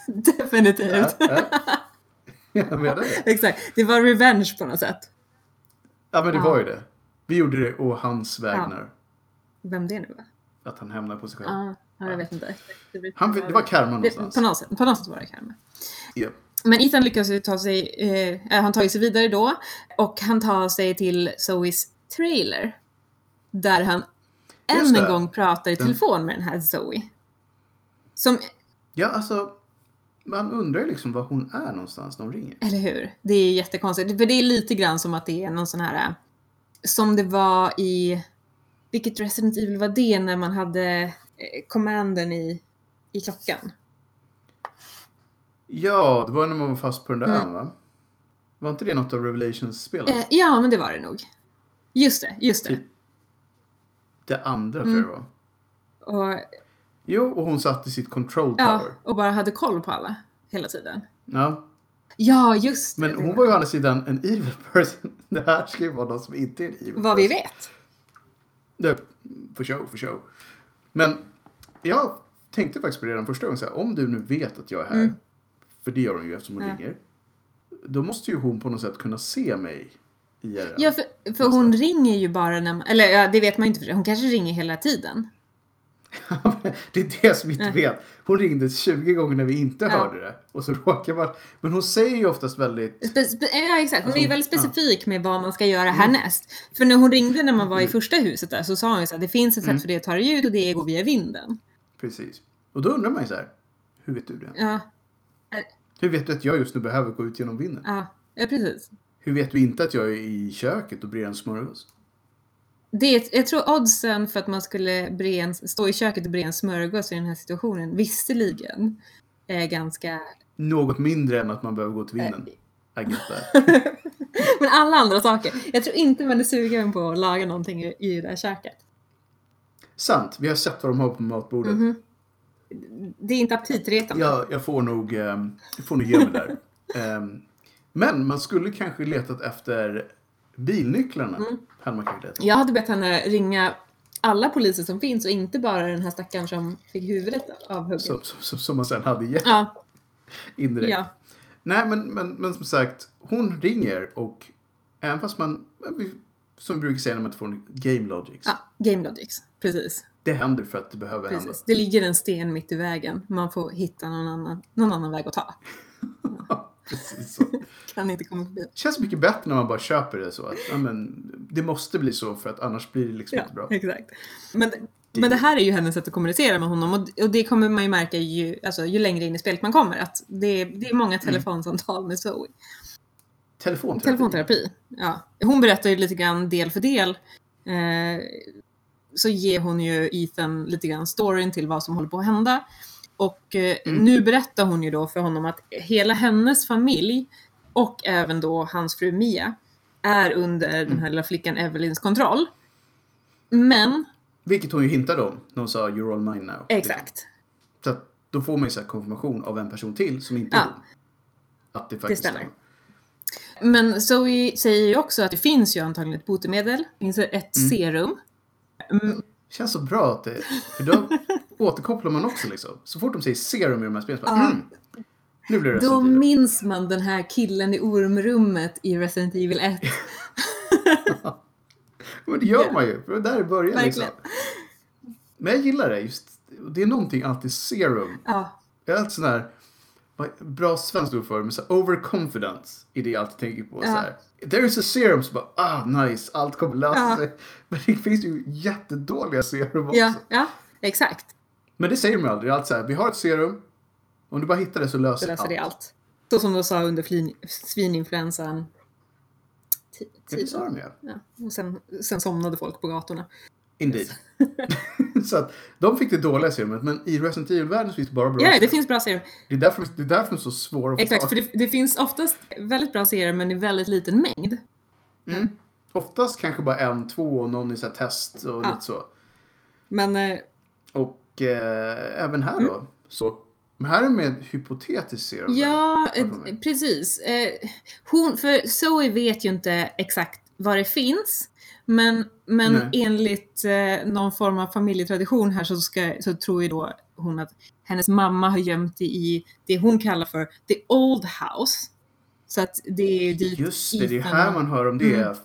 Definitivt. Ja, ja. Jag menar det. Exakt. Det var revenge på något sätt. Ja, men det Ja. var ju det. Vi gjorde det å hans vägnar. Vem det nu var. Att han hämnar på sig själv. Ja, ja, jag vet inte. Det, blir- Han, det var alltså. karma det, någonstans. på, något sätt, på något sätt var det karma. Ja. Men Ethan lyckas ju ta sig, eh, han tar ju sig vidare då och han tar sig till Zoes trailer. Där han än det. Mm. en gång pratar i telefon med den här Zoe. Som, Ja, alltså. Man undrar ju liksom var hon är någonstans när hon ringer. eller hur? Det är jättekonstigt. För det är lite grann som att det är någon sån här, eh, som det var i, vilket Resident Evil var det när man hade eh, commanden i, i klockan? Ja, det var när man var fast på den där Mm. ön va? Var inte det något av Revelations-spelen? Eh, ja, men det var det nog. Just det, just det. Typ. Det andra tror Mm. jag det var. Och, Jo, och hon satt i sitt control ja, tower. och bara hade koll på alla hela tiden. Ja. Ja, just det. Men hon var ju å andra sidan en evil person. Det här ska ju vara någon som inte är en evil Vad vi vet. Det, for show, for show. Men jag tänkte faktiskt på det redan första gången. Så här, om du nu vet att jag är här, Mm. för det gör hon ju eftersom hon Ja. ringer. Då måste ju hon på något sätt kunna se mig i IRL. Ja, för, för hon ringer ju bara när man, Eller ja, det vet man ju inte för sig. Hon kanske ringer hela tiden. det är det som vi inte Nej. vet. Hon ringde 20 gånger när vi inte Ja. hörde det. Och så råkar man... Men hon säger ju oftast väldigt... Spe, spe, ja, exakt. Hon är ju Alltså, väldigt specifik med vad man ska göra härnäst. För när hon ringde när man var i första huset där så sa hon ju så här, det finns ett sätt för det att ta dig ut och det är att gå via vinden. Precis. Och då undrar man ju så här. Hur vet du det? Ja, Hur vet du att jag just nu behöver gå ut genom vinden? ja, ja precis. Hur vet du inte att jag är i köket och brer en smörgås? Det är, ett- jag tror oddsen för att man skulle bre en, stå i köket och bre en smörgås i den här situationen visserligen är ganska... Något mindre än att man behöver gå till vinden. I get that. Men alla andra saker. Jag tror inte man är sugen på att laga någonting i, i det där köket. Sant, vi har sett vad de har på matbordet. Mhm. Det är inte aptitretande. jag, jag får nog, ehm, jag får nog ge mig där. Ehm, men man skulle kanske letat efter bilnycklarna. Mm. Hade man kanske letat. Jag hade bett henne ringa alla poliser som finns och inte bara den här stackaren som fick huvudet avhugget. Som, som, som- som man sen hade gett Ja, indirekt. ja, Nej, men, men, men som sagt, hon ringer och även fast man, som vi brukar säga när man inte får en game logic, ja. Game logics. Precis. det händer för att det behöver hända. precis. Det ligger en sten mitt i vägen. Man får hitta någon annan, någon annan väg att ta. Precis så. Kan inte komma förbi. känns mycket bättre när man bara köper det så. Att, ja, men, det måste bli så för att annars blir det liksom Ja, inte bra. exakt. Men, men det här är ju hennes sätt att kommunicera med honom och, och det kommer man ju märka ju, alltså, ju längre in i spelet man kommer att det, är- det är många telefonsamtal med Zoe. Telefonterapi. Telefonterapi. Ja. Hon berättar ju lite grann del för del. Eh, så ger hon ju Ethan lite grann storyn till vad som håller på att hända. Och eh, Mm. nu berättar hon ju då för honom att hela hennes familj och även då hans fru Mia är under den här lilla flickan Evelyns kontroll. Men, Vilket hon ju hintade om när hon sa “You're all mine now”. exakt, Så att, då får man ju så här konfirmation av en person till som inte Ja. är hon. Att det faktiskt stämmer. Men Zoe säger ju också att det finns ju antagligen ett botemedel. Det finns ett serum. Känns så bra att det... För då återkopplar man också liksom. Så fort de säger “serum” i de här spelen så bara, Ja. mm, Nu blir det Då Resident Evil." minns man den här killen i ormrummet i Resident Evil 1. Men det gör man ju. För det där är början liksom. Verkligen. Men jag gillar det. Just, det är någonting alltid serum. Ja, Jag är alltid sån här, vad- bra svenskt ord för det, men så här, overconfidence är det jag alltid tänker på. Så här. There is a serum, så bara ah nice, allt kommer lösa Ja. sig. Men det finns ju jättedåliga serum också. ja, ja exakt. Men det säger man aldrig, det är alltid så här, vi har ett serum, om du bara hittar det så Så löser, löser det allt. allt. Så som de sa under flin, svininfluensan. ti- Ja, det sa tio- de ju. Ja, och sen, sen somnade folk på gatorna. Indeed. så att de fick det dåliga serumet, men i Resident Evil-världen så finns det bara bra Ja, det serum. finns bra serum. det, är därför, det är därför de är så svåra att få Exakt, tag för det, det finns oftast väldigt bra serum men i väldigt liten mängd. mm. Oftast kanske bara en, två och någon i så här test och Ja. lite så. Men eh, Och eh, även här Mm. då. Så, men här är med hypotetiskt serum. Ja, Vad eh, får man? precis. Eh, Hon, för Zoe vet ju inte exakt vad det finns. Men, men Nej. enligt eh, någon form av familjetradition här så, ska, så tror ju då hon att hennes mamma har gömt det i det hon kallar för the old house. Så att det är ju dit Just det, det är Ethan här man hör om det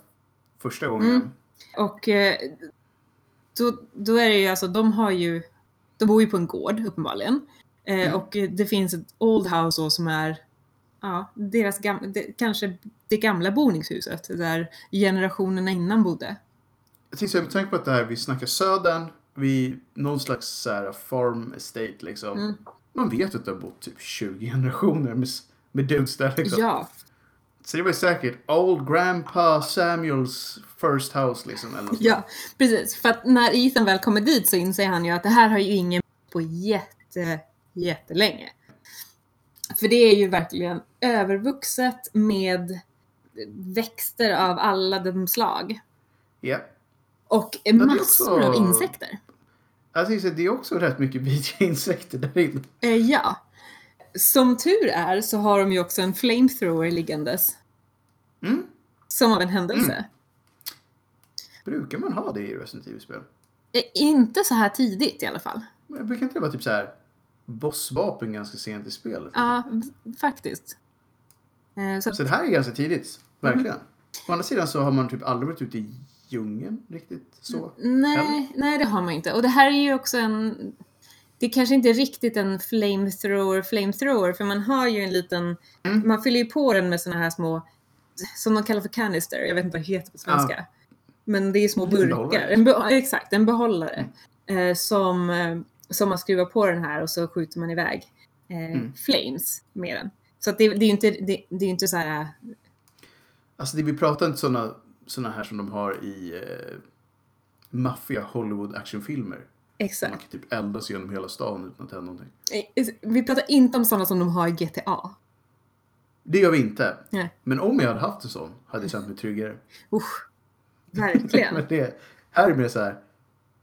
första gången. Mm. och eh, då, då är det ju alltså, de har ju, de bor ju på en gård uppenbarligen. Eh, Mm. Och eh, det finns ett old house då som är, ja, deras gamla, det, kanske det gamla boningshuset där generationerna innan bodde. Jag tänkte säga, med tanke på att det här, vi snackar södern, vi, någon slags så här, farm estate liksom. Mm. Man vet att det har bott typ 20 generationer med, s- med dudes där liksom. Ja, Så det var ju säkert Old Grandpa Samuels first house liksom. Eller något. ja, precis. För att när Ethan väl kommer dit så inser han ju att det här har ju ingen på jätte, jättelänge. För det är ju verkligen övervuxet med växter av alla de slag. Ja. Och det är massor av också- insekter. Alltså, Jag tänkte säga, det är också rätt mycket vita insekter där inne. Eh, ja. Som tur är så har de ju också en flamethrower liggandes. Mm. Som av en händelse. Brukar man ha det i Resident Evil-spel? Eh, inte så här tidigt i alla fall. Men jag brukar inte det vara typ så här bossvapen ganska sent i spelet? Ja, v- faktiskt. Eh, så, Så det här är ganska tidigt, verkligen. Å andra sidan så har man typ aldrig varit ute i djungeln riktigt så. Mm. Eller? nej, nej, det har man inte. Och det här är ju också en... Det är kanske inte riktigt en flamethrower, flamethrower, för man har ju en liten... Mm. Man fyller ju på den med såna här små, som de kallar för canister, jag vet inte vad det heter på svenska. Men det är små Liten burkar. behållare. En be- exakt, en behållare. Eh, som, eh, som man skruvar på den här och så skjuter man iväg eh, Mm. flames med den. Så att det, det är ju inte, det, det är ju inte så här... eh, Alltså det, vi pratar inte sådana såna här som de har i eh, maffiga Hollywood actionfilmer. Exakt. Man kan typ elda sig genom hela stan utan att hända någonting. Eh, Vi pratar inte om sådana som de har i GTA. Det gör vi inte. Nej. Men om jag hade haft en sån hade jag känt mig tryggare. Usch. Verkligen. Men det är mer så här.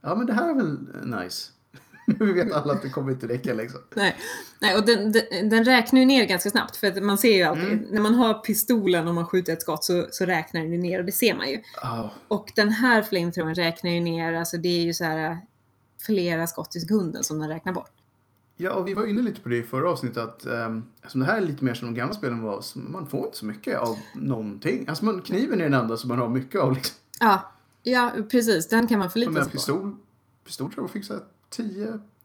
Ja men det här är väl nice. vi vet alla att det kommer inte räcka liksom. Nej. Nej, och den, den, den räknar ju ner ganska snabbt för att man ser ju alltid, Mm. när man har pistolen och man skjuter ett skott så, så räknar den ju ner och det ser man ju. Ah, Och den här flamethrowern räknar ju ner, alltså det är ju så här eh, flera skott i sekunden som den räknar bort. Ja, och vi var inne lite på det i förra avsnittet att um, eftersom det här är lite mer som de gamla spelen var så man får inte så mycket av någonting. Alltså man, kniven är den enda som man har mycket av. Liksom. Ja, ja precis, den kan man Jag förlita menar, sig på. pistol, pistol tror jag fick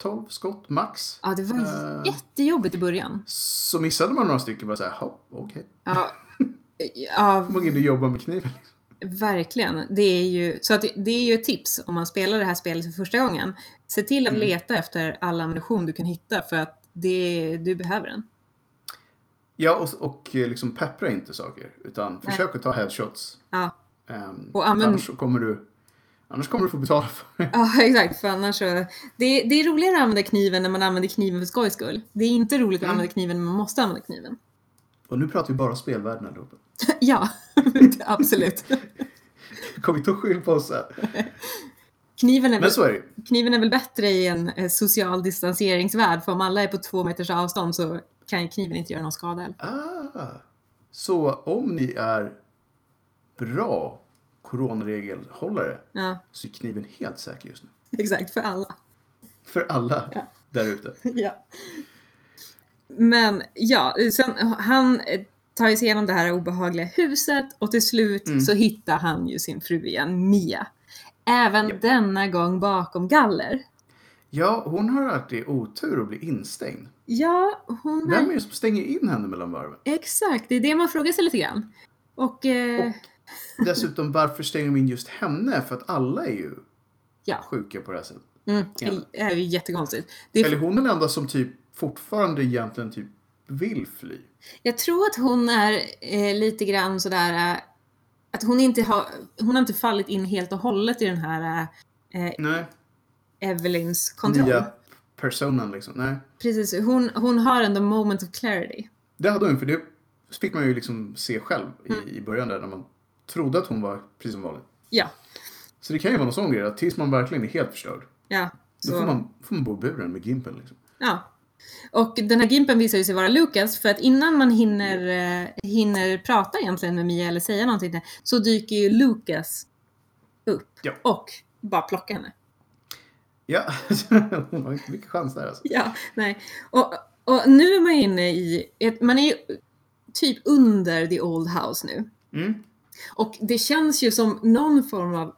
10-12 skott max. Ja, det var Eh. jättejobbigt i början. Så missade man några stycken bara såhär, ja okej. Ja, ja Hur många du jobbar med kniven? Verkligen. Det är ju, så att det, det är ju ett tips om man spelar det här spelet för första gången. Se till att Mm. leta efter all ammunition du kan hitta för att det, du behöver den. Ja, och, och eh, liksom peppra inte saker utan försök att ta headshots. Ja, Ehm, Och använd- annars, så kommer du, annars kommer du få betala för det. ja exakt. För annars så, det, det är roligare att använda kniven när man använder kniven för skojs skull. Det är inte roligt att Mm. använda kniven när man måste använda kniven. Och nu pratar vi bara spelvärlden allihopa. ja, absolut. Kom inte och skyll på oss här. Kniven är, väl, Men så är det ju. kniven är väl bättre i en eh, social distanseringsvärld för om alla är på två meters avstånd så kan ju kniven inte göra någon skada. heller. Ah, så om ni är bra coronaregelhållare Ja, så är kniven helt säker just nu. exakt. För alla. För alla där ute. Ja. Men ja, sen, han eh, tar ju sig igenom det här obehagliga huset och till slut Mm. så hittar han ju sin fru igen, Mia. Även Ja. denna gång bakom galler. Ja, hon har alltid otur att bli instängd. Ja, hon Vem har... är det som stänger in henne mellan varven? Exakt, det är det man frågar sig lite grann. Och eh, Dessutom, varför stänger de in just henne? För att alla är ju Ja. sjuka på det här sättet. mm, Ja. det är ju jättekonstigt. Det är, Eller hon är den enda som typ fortfarande egentligen typ vill fly. Jag tror att hon är eh, lite grann sådär... eh, Att hon inte har... Hon har inte fallit in helt och hållet i den här eh, Nej, Evelyns kontroll. nya personen liksom. Nej. Precis, hon, hon har ändå moment of clarity. Det hade hon, för det fick man ju liksom se själv i, Mm. i början där när man trodde att hon var precis som vanligt. Ja, Så det kan ju vara någon sån grej, att tills man verkligen är helt förstörd, ja. då får Så, man, får man bo i buren med Gimpen liksom. ja. Och den här gimpen visar ju sig vara Lucas för att innan man hinner, eh, hinner prata egentligen med Mia eller säga någonting så dyker ju Lucas upp Ja. och bara plockar henne. Ja, hon har inte mycket chans där alltså. Ja, nej. Och, och nu är man ju inne i, ett, man är ju typ under the old house nu. Mm. Och det känns ju som någon form av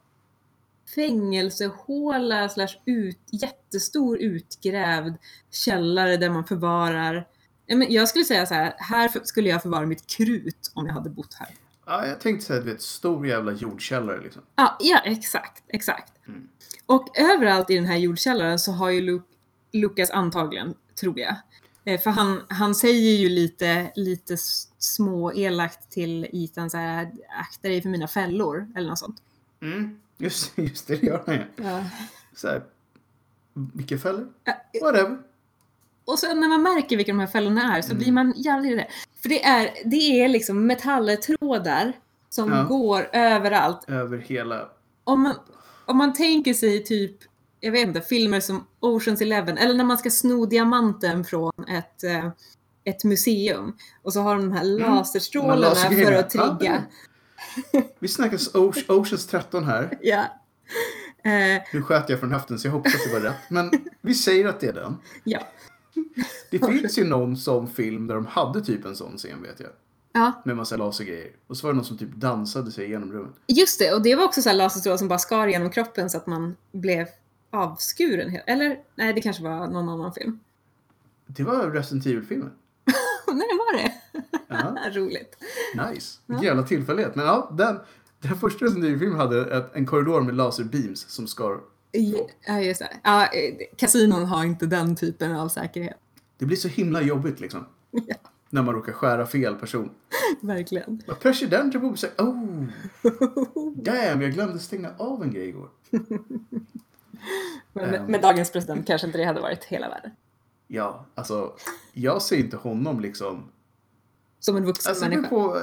fängelsehåla slash ut, jättestor utgrävd källare där man förvarar. Nej, men Jag skulle säga så här, här för- skulle jag förvara mitt krut om jag hade bott här. Ja, jag tänkte säga, du vet, stor jävla jordkällare liksom. Ja, ja exakt, exakt. Mm. Och överallt i den här jordkällaren så har ju Lu- Lukas antagligen, tror jag. Eh, För han, han säger ju lite, lite s- små elakt till Ethan så här, akta dig för mina fällor eller något sånt. Mm. Just, just det, det gör han ju. Ja. Så här, vilka fällor? Ja, Whatever. Mm. Och sen när man märker vilka de här fällorna är så blir man jävligt irriterad. För det är, det är liksom metalltrådar som Ja. går överallt. Över hela... Om man, om man tänker sig typ, jag vet inte, filmer som Oceans Eleven eller när man ska sno diamanten från ett, eh, ett museum och så har de de här laserstrålarna lasergrejerna. för att Mm. Ja, trigga. Vi snackar Oce- Oceans 13 här. Ja. Eh, Nu sköt jag från höften så jag hoppas att det var rätt. Men vi säger att det är den. ja. Det finns ju någon sån film där de hade typ en sån scen vet jag. ja, Med massa lasergrejer. Och så var det någon som typ dansade sig igenom rummet. just det. Och det var också så här laserstrålar som bara skar genom kroppen så att man blev avskuren. he- Eller nej, det kanske var någon annan film. Det var Resident Evil-filmen. nej, var det? Ja, Roligt. nice. Vilken jävla tillfällighet. Men ja, den, den första Resident Evil-filmen hade ett, en korridor med laserbeams som skar. Ja, just det. Ja, eh, kasinon har inte den typen av säkerhet. Det blir så himla jobbigt liksom. När man råkar skära fel person. Verkligen. Vad President Republic säger, oh, damn, jag glömde stänga av en grej igår. Men Ehm. med, med dagens president kanske inte det hade varit hela världen. Ja, alltså, jag ser inte honom liksom Som en vuxen Alltså, det beror människa. på...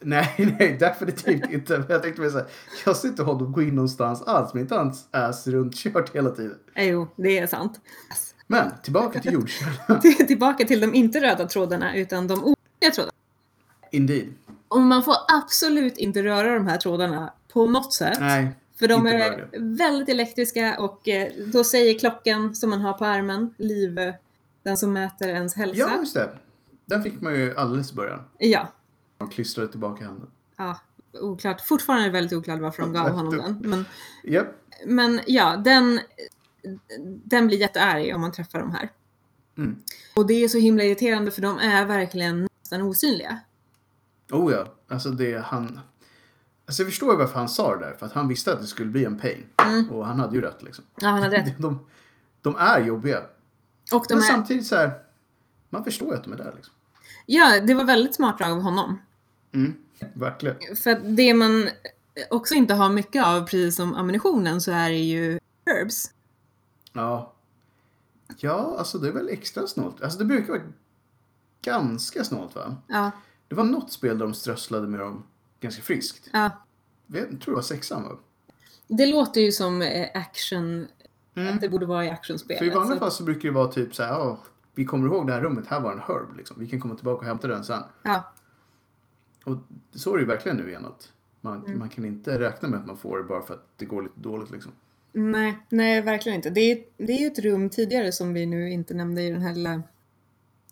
Nej, nej, definitivt inte. Men jag tänkte mig så här, jag ser inte honom gå in någonstans alls, men inte hans ass runt kört hela tiden. Eh, Jo, det är sant. Men tillbaka till jordkärnan. Till- Tillbaka till de inte röda trådarna utan de oröda trådarna. Indeed. Och man får absolut inte röra de här trådarna på något sätt. Nej, för de inte är rör väldigt elektriska och eh, då säger klockan som man har på armen, liv, eh, den som mäter ens hälsa. ja just det. Den fick man ju alldeles i början. ja. Man klistrade tillbaka handen. ja. Oklart. Fortfarande är det väldigt oklart varför de gav honom den. Men, Japp, men ja, den, den blir jättearg om man träffar de här. Mm. Och det är så himla irriterande för de är verkligen nästan osynliga. oh ja. Alltså det han... Alltså jag förstår ju varför han sa det där, för att han visste att det skulle bli en pain. Mm. Och han hade ju rätt liksom. Ja, han hade rätt. De, de är jobbiga. Och de men är, samtidigt så här, man förstår ju att de är där liksom. ja, det var väldigt smart drag av honom. Mm, verkligen. För att det man också inte har mycket av, precis som ammunitionen, så är det ju herbs. Ja. Ja, alltså det är väl extra snålt. Alltså det brukar vara ganska snålt va? Ja, Det var något spel där de strösslade med dem ganska friskt. ja. Jag vet- tror det var sexan va? Det låter ju som eh, action, att det borde vara i actionspel. Mm. För i vanliga alltså. fall så brukar det vara typ så här, "Ja, vi kommer ihåg det här rummet, här var en herb liksom. Vi kan komma tillbaka och hämta den sen. Ja, Och så är det ju verkligen nu igen att man, Mm. man kan inte räkna med att man får det bara för att det går lite dåligt liksom. nej, nej, verkligen inte. Det är, det är ju ett rum tidigare som vi nu inte nämnde i den här lilla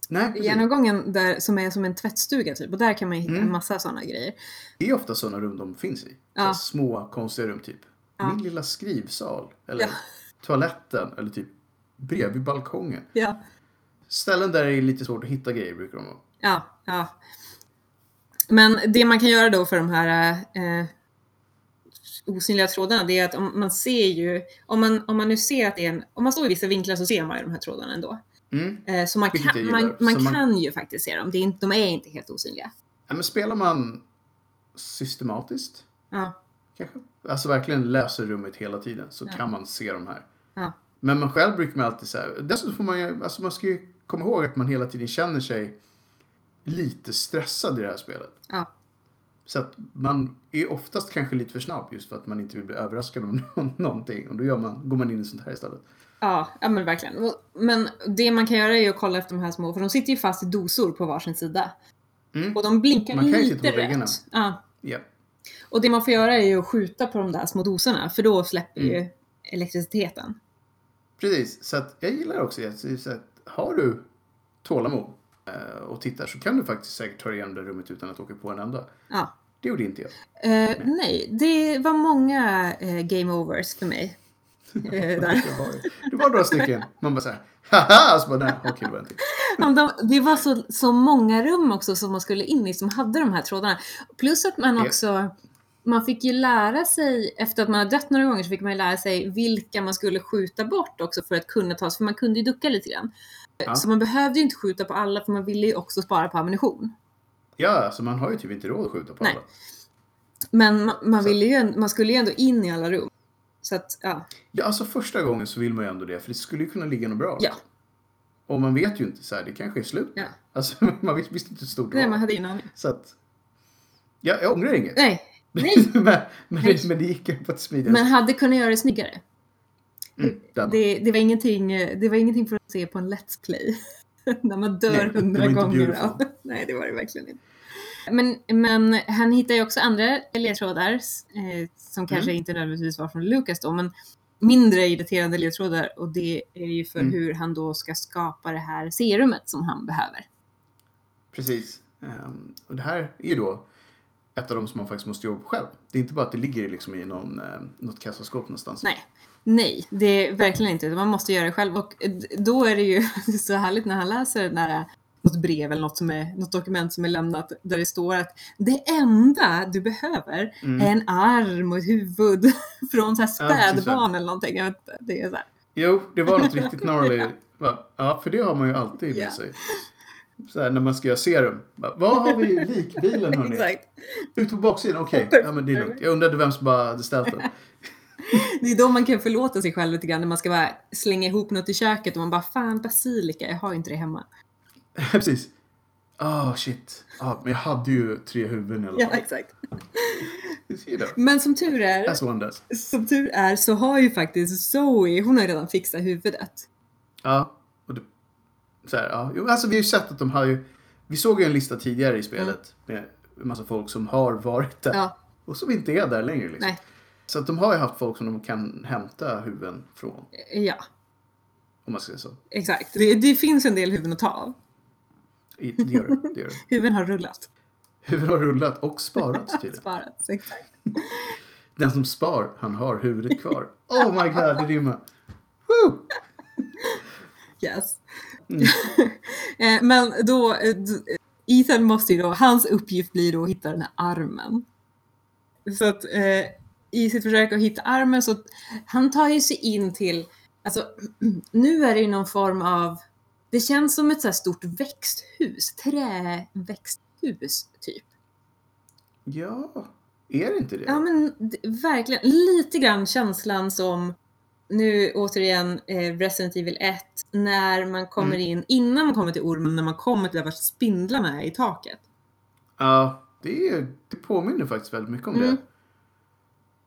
Nej, precis. genomgången där, som är som en tvättstuga typ. Och där kan man ju hitta Mm. en massa sådana grejer. Det är ofta sådana rum de finns i. Så Ja. här Små konstiga rum typ. Min lilla skrivsal. Eller Ja. toaletten. Eller typ bredvid balkongen. Ja. Ställen där det är lite svårt att hitta grejer brukar de vara. Ja, ja. Men det man kan göra då för de här eh, osynliga trådarna, det är att om man ser ju, om man, om man nu ser att det är en, om man står i vissa vinklar så ser man ju de här trådarna ändå. Mm. Eh, så man Vilket jag kan, gillar. man, man Så man- kan ju faktiskt se dem, det är inte, de är inte helt osynliga. Ja, men spelar man systematiskt Ja, kanske? Alltså verkligen läser rummet hela tiden så Ja. kan man se de här. ja, Men man själv brukar man alltid säga. Dessutom får man ju, alltså man ska ju komma ihåg att man hela tiden känner sig lite stressad i det här spelet. ja. Så att man är oftast kanske lite för snabb just för att man inte vill bli överraskad om nå- någonting. Och då gör man, går man in i sånt här istället. Ja, ja men verkligen. Och- Men det man kan göra är ju att kolla efter de här små, för de sitter ju fast i dosor på varsin sida. Mm. Och de blinkar Man kan ju lite titta på väggarna. rött. Ja. Ja. Och det man får göra är ju att skjuta på de där små dosorna för då släpper Mm. ju elektriciteten. Precis, så att jag gillar också det. Så- Så att har du tålamod eh, och tittar så kan du faktiskt säkert ta dig igenom det rummet utan att åka på en enda. Ja. Det gjorde inte jag. Eh, nej, det var många eh, game overs för mig. Eh, där. Det var, det var några stycken. Man bara så här, haha! Och så bara, nej, okej, det var en till. Ja, men de, det var så, så många rum också som man skulle in i som hade de här trådarna. Plus att man Ja. också, man fick ju lära sig, efter att man har dött några gånger så fick man ju lära sig vilka man skulle skjuta bort också för att kunna ta sig, för man kunde ju ducka lite grann. Eh, Ja. Så man behövde ju inte skjuta på alla för man ville ju också spara på ammunition. Ja, alltså man har ju typ inte råd att skjuta på Nej. alla. Men man, man, Så. ville ju, en- man skulle ju ändå in i alla rum. Så att, ja. Ja, alltså första gången så vill man ju ändå det, för det skulle ju kunna ligga något bra. ja. Och man vet ju inte, så här, det kanske är slut. Ja. Alltså, man visste, visste inte hur stort det Nej, var. man hade ingen aning. Så att, ja, jag ångrar inget. Nej, nej. men, men, Nej. det, men det gick på ett smidigt Men hade kunnat göra det snyggare. mm, den. Det, det, var ingenting, eh, det var ingenting för att se på en Let's Play. När man Nej, dör det var hundra inte gånger. beautiful. Ja. Nej, det var det verkligen inte. Men, men han hittar ju också andra ledtrådar eh, som kanske Mm. inte nödvändigtvis var från Lucas då, men mindre irriterande ledtrådar och det är ju för Mm. hur han då ska skapa det här serumet som han behöver. Precis. Ehm, och det här är ju då ett av de som man faktiskt måste jobba på själv. Det är inte bara att det ligger liksom i någon, eh, något kassaskåp någonstans. Nej. Nej, det är verkligen inte. utan Man måste göra det själv. Och eh, d- då är det ju så härligt när han läser den där, eh, något brev eller något, som är, något dokument som är lämnat där det står att det enda du behöver Mm. är en arm och ett huvud från så här Ja, precis, ja. spädbarn eller någonting. Jag vet, inte, det är så här. Jo, det var något riktigt gnarly. Va? Ja, för det har man ju alltid Ja. med sig. Så här, när man ska göra serum. Va? Vad har vi i likbilen hörni? Exakt. Ut på baksidan, okej. Ja, men det är lugnt. Jag undrade vem som bara hade ställt den. Det är då man kan förlåta sig själv lite grann när man ska bara slänga ihop något i köket och man bara fan basilika, jag har ju inte det hemma. Precis. Ah, shit. Ah, men jag hade ju tre huvuden i alla Ja, fall. exakt. Du ser det. Men som tur är That's one does. Som tur är så har ju faktiskt Zoe, hon har ju redan fixat huvudet. Ja. Och det, så här, ja. Jo, alltså, vi har ju sett att de har ju... Vi såg ju en lista tidigare i spelet med en massa folk som har varit där Ja, och som inte är där längre. Liksom. nej, Så att de har ju haft folk som de kan hämta huvuden från, ja, om man ska säga så. exakt. Liksom. Det, det finns en del huvuden att ta av. I- Det gör det. det, gör det. Huvuden har rullat, Huvud har rullat och sparats tydligen. sparats, exakt. Den som spar, han har huvudet kvar. Oh my god, det rimmar. Woo! Yes. Mm. Eh, Men då, eh, d- Ethan måste ju då, hans uppgift blir då att hitta den här armen. Så att eh, i sitt försök att hitta armen så, han tar ju sig in till, alltså nu är det ju någon form av, det känns som ett så här stort växthus, träväxthus typ. Ja, är det inte det? Ja men d- verkligen, lite grann känslan som nu återigen eh, Resident Evil 1 när man kommer Mm. in, innan man kommer till ormen, när man kommer till där vart spindlarna är i taket. Ja, det, är, det påminner faktiskt väldigt mycket om Mm. det.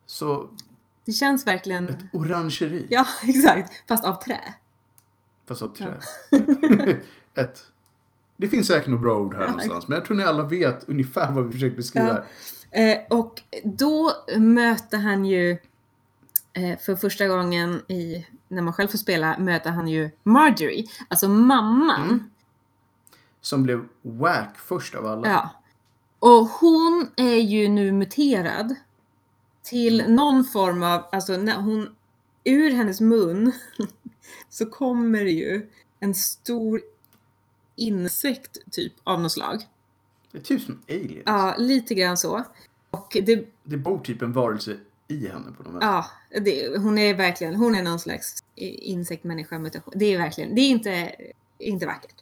Så, Det känns verkligen, ett orangeri. ja exakt, fast av trä. Fast av trä. ett. Det finns säkert några bra ord här Ja. någonstans, men jag tror ni alla vet ungefär vad vi försöker beskriva. Ja. Eh, och då möter han ju, eh, för första gången i, när man själv får spela, möter han ju Marjorie, alltså mamman. Som blev whack först av alla. Ja. Och hon är ju nu muterad till någon form av, alltså när hon, ur hennes mun så kommer det ju en stor insekt typ av något slag. Det är typ som aliens. Ja, lite grann så. Och det, Det bor typ en varelse i henne på något ja, det, hon är verkligen, hon är någon slags i- insektmänniska. mutation. Det är verkligen, det är inte, inte vackert.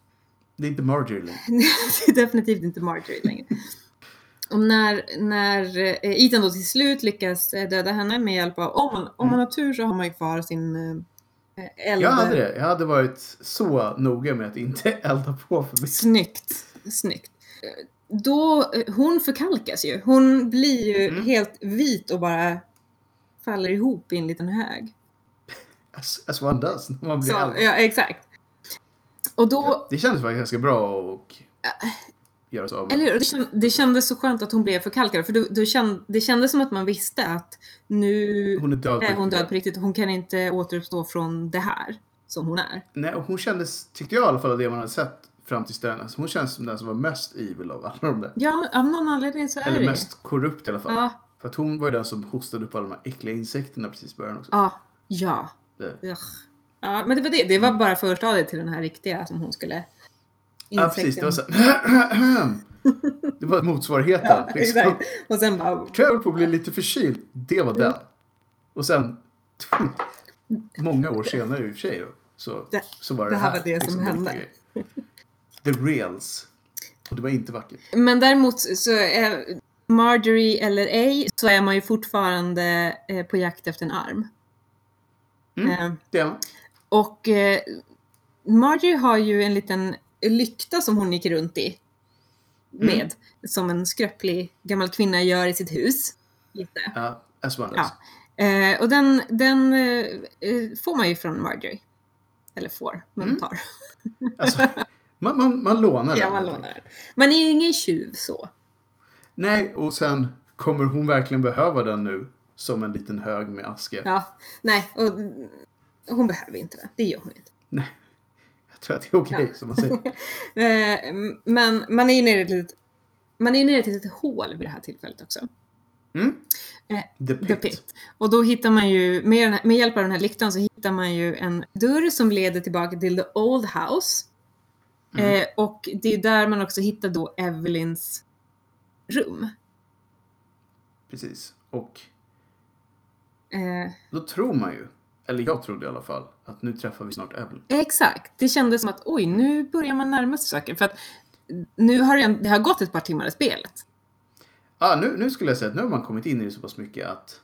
Det är inte Marjorie längre. det är definitivt inte Marjorie längre. Och när, när eh, Ethan då till slut lyckas eh, döda henne med hjälp av, om man, om man har tur så har man ju kvar sin eh, eld. Jag hade det. Jag hade varit så noga med att inte elda på för mycket. Snyggt, snyggt. Eh, Då, eh, hon förkalkas ju. Hon blir ju Mm. helt vit och bara faller ihop i en liten hög. As, as one does när man blir Så, äldre. ja, exakt. Och då, Det kändes faktiskt ganska bra och göra sig av med. Eller hur? Och Det, känd, det kändes så skönt att hon blev förkalkad. För då, då känd, det kändes som att man visste att nu Hon är död på är hon riktigt. död på riktigt. Hon kan inte återuppstå från det här som hon är. Nej, och hon kändes, tyckte jag i alla fall, av det man hade sett fram till den. Alltså, hon kändes som den som var mest evil av alla de där. Ja, av någon anledning så är Eller det mest korrupt i alla fall. Ja, För att hon var ju den som hostade upp alla de här äckliga insekterna precis i början också. ja, ja. Det- Ugh. Ja, men det var det. Det var bara förstadiet till den här riktiga som hon skulle... Ja, precis. Det var, Insekten. så här, det var motsvarigheten. Ja, liksom. exakt. Och sen bara... tror jag höll på att bli lite förkyld. Det var den. Och sen, många år senare i och för sig, då, så, Det- så var det det här var det som liksom, hände. riktiga grejer. The reals. Och det var inte vackert. Men däremot så är Marjorie eller ej så är man ju fortfarande eh, på jakt efter en arm. Mm. Eh, Det, Och eh, Marjorie har ju en liten lykta som hon gick runt i med. Som en skröplig gammal kvinna gör i sitt hus. Lite. Ja, as well as. Ja. Eh, och den, den eh, eh, får man ju från Marjorie. Eller får, men Mm. tar. Alltså, man, man, man lånar Ja, den. man lånar den. Man är ju ingen tjuv så. Nej, och sen kommer hon verkligen behöva den nu som en liten hög med aska. Ja, nej, och hon behöver inte det. Det gör hon inte. Nej, jag tror att det är okej som man säger. Eh, m- Men man är ju nere i ett litet, man är ju nere i ett litet hål vid det här tillfället också. Mm? Eh, The The pit. pit. Och då hittar man ju, med, den här, med hjälp av den här lyktan så hittar man ju en dörr som leder tillbaka till the old house. Mm. Eh, och det är där man också hittar då Evelyns rum. Precis. Och Eh, då tror man ju, eller jag trodde i alla fall, att nu träffar vi snart Evelyn. Exakt. Det kändes som att oj, nu börjar man närma sig saker. För att nu har det, det har gått ett par timmar i spelet. Ah, nu, nu skulle jag säga att nu har man kommit in i det så pass mycket att,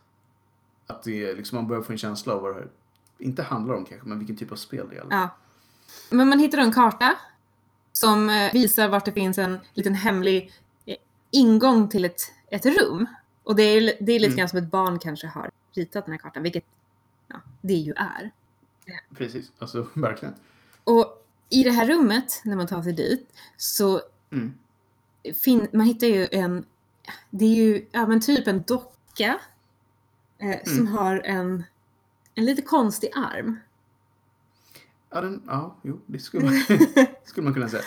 att det, är liksom, man börjar få en känsla av vad det här inte handlar om kanske, men vilken typ av spel det är. Ja. Men man hittar en karta som eh, visar vart det finns en liten hemlig eh, ingång till ett, ett rum. Och det är, det är lite Mm. grann som ett barn kanske har ritat den här kartan, vilket ja, det ju är. Precis, alltså verkligen. Och i det här rummet, när man tar sig dit, så Mm. fin- man hittar ju en, det är ju ja, men typ en docka eh, Mm. som har en, en lite konstig arm. Ja, den, ja, jo, det skulle man, skulle man kunna säga.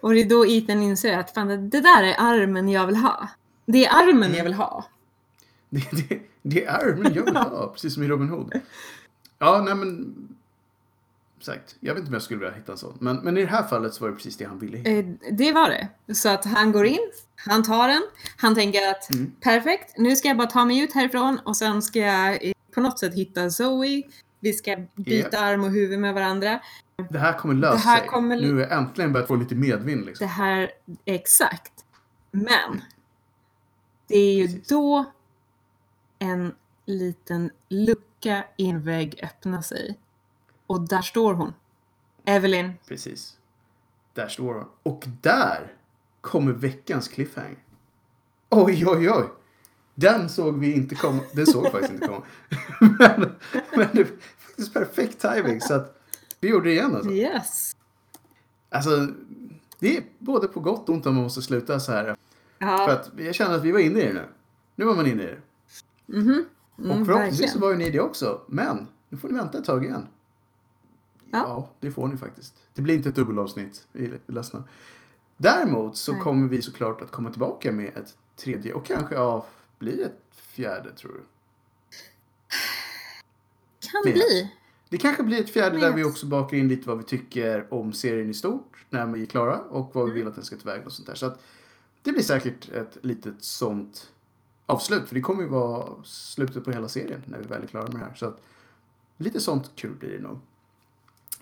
Och det är då Ethan inser att fan, det det där är armen jag vill ha. Det är armen jag vill ha. Det, det, det är men jag vill ha, precis som i Robin Hood. Ja, nej men... Exakt. Jag vet inte om jag skulle vilja hitta en sån. Men, men i det här fallet så var det precis det han ville hitta. Eh, det var det. Så att han går in, han tar den, han tänker att Mm. perfekt, nu ska jag bara ta mig ut härifrån och sen ska jag eh, på något sätt hitta Zoe. Vi ska byta arm och huvud med varandra. Det här kommer lösa Eh, Det här sig. kommer- Nu har jag äntligen börjat få lite medvind liksom. det här exakt. Men det är ju Precis. då en liten lucka i en vägg öppnar sig. Och där står hon. Evelyn. Precis. Där står hon. Och där kommer veckans cliffhanger. Oj, oj, oj. Den såg vi inte komma. Den såg vi faktiskt inte komma. men, men det var faktiskt perfekt timing så att vi gjorde det igen alltså. Yes. Alltså, det är både på gott och ont om man måste sluta så här. För Ja, att jag känner att vi var inne i det nu. Nu var man inne i det. mhm. Mm, Och förhoppningsvis så verkligen. var ju ni det också. Men nu får ni vänta ett tag igen. Ja. det får ni faktiskt. Det blir inte ett dubbelavsnitt. Vi är ledsna. Däremot så Nej. kommer vi såklart att komma tillbaka med ett tredje och kanske ja, blir ett fjärde tror du. Kan Vet. bli. Det kanske blir ett fjärde där Vet. vi också bakar in lite vad vi tycker om serien i stort när vi är klara och Mm. vad vi vill att den ska tillväga och sånt där. Så att det blir säkert ett litet sånt avslut för det kommer ju vara slutet på hela serien när vi väl är klara med det här. Så att lite sånt kul blir det nog.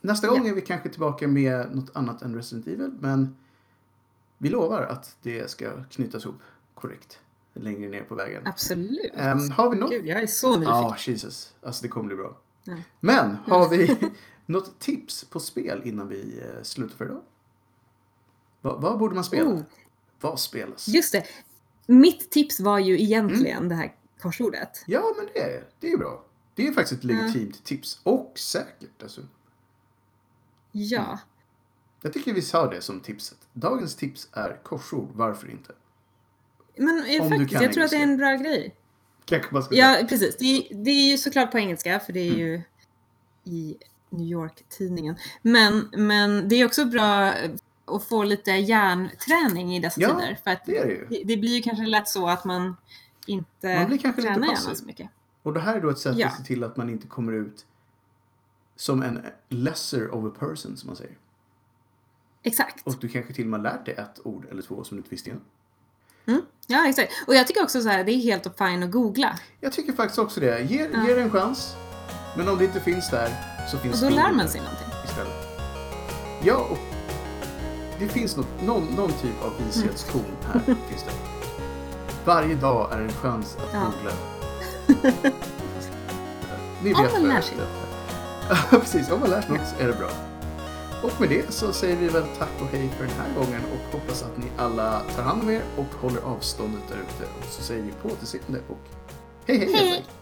Nästa gång Ja. är vi kanske tillbaka med något annat än Resident Evil men vi lovar att det ska knytas ihop korrekt längre ner på vägen. Absolut. Ehm, har vi något Gud, jag är så nyfiken. Ja, Jesus. Alltså det kommer bli bra. Ja. Men har vi något tips på spel innan vi eh, slutar för idag? Va, vad borde man spela? Oh. Vad spelas? Just det. Mitt tips var ju egentligen Mm. det här korsordet. Ja, men det, det är ju bra. Det är faktiskt ett Ja. legitimt tips. Och säkert alltså. Mm. Ja. Jag tycker vi sa det som tipset. Dagens tips är korsord, varför inte? Men eh, Om du faktiskt, kan jag tror att det är engelska. en bra grej. Kanske man ska säga. Ja, precis. Det är, det är ju såklart på engelska, för det är ju Mm. i New York-tidningen. Men, men det är också bra eh, att få lite hjärnträning i dessa Ja, tider. För att det är det ju. det, det blir ju kanske lätt så att man inte Man blir kanske lite tränar passiv. hjärnan så mycket. Och det här är då ett sätt Ja. att se till att man inte kommer ut som en lesser of a person, som man säger. Exakt. Och du kanske till och med har lärt dig ett ord eller två som du inte visste innan. Mm. Ja, exakt. Och jag tycker också så här, det är helt och fine att googla. Jag tycker faktiskt också det. Ge, Ja. ge det en chans. Men om det inte finns där så Och finns då det lär man sig någonting. istället. Ja, och det finns något, någon, någon typ av vishetskorn här. finns det. Varje dag är en chans att Ja. googla. Ni Om vet man vad lär jag sig heter. Ja, precis. Om man lär sig något så är det bra. Och med det så säger vi väl tack och hej för den här gången och hoppas att ni alla tar hand om er och håller avståndet där ute. Och så säger vi på återseende och hej hej! Hej. helt enkelt.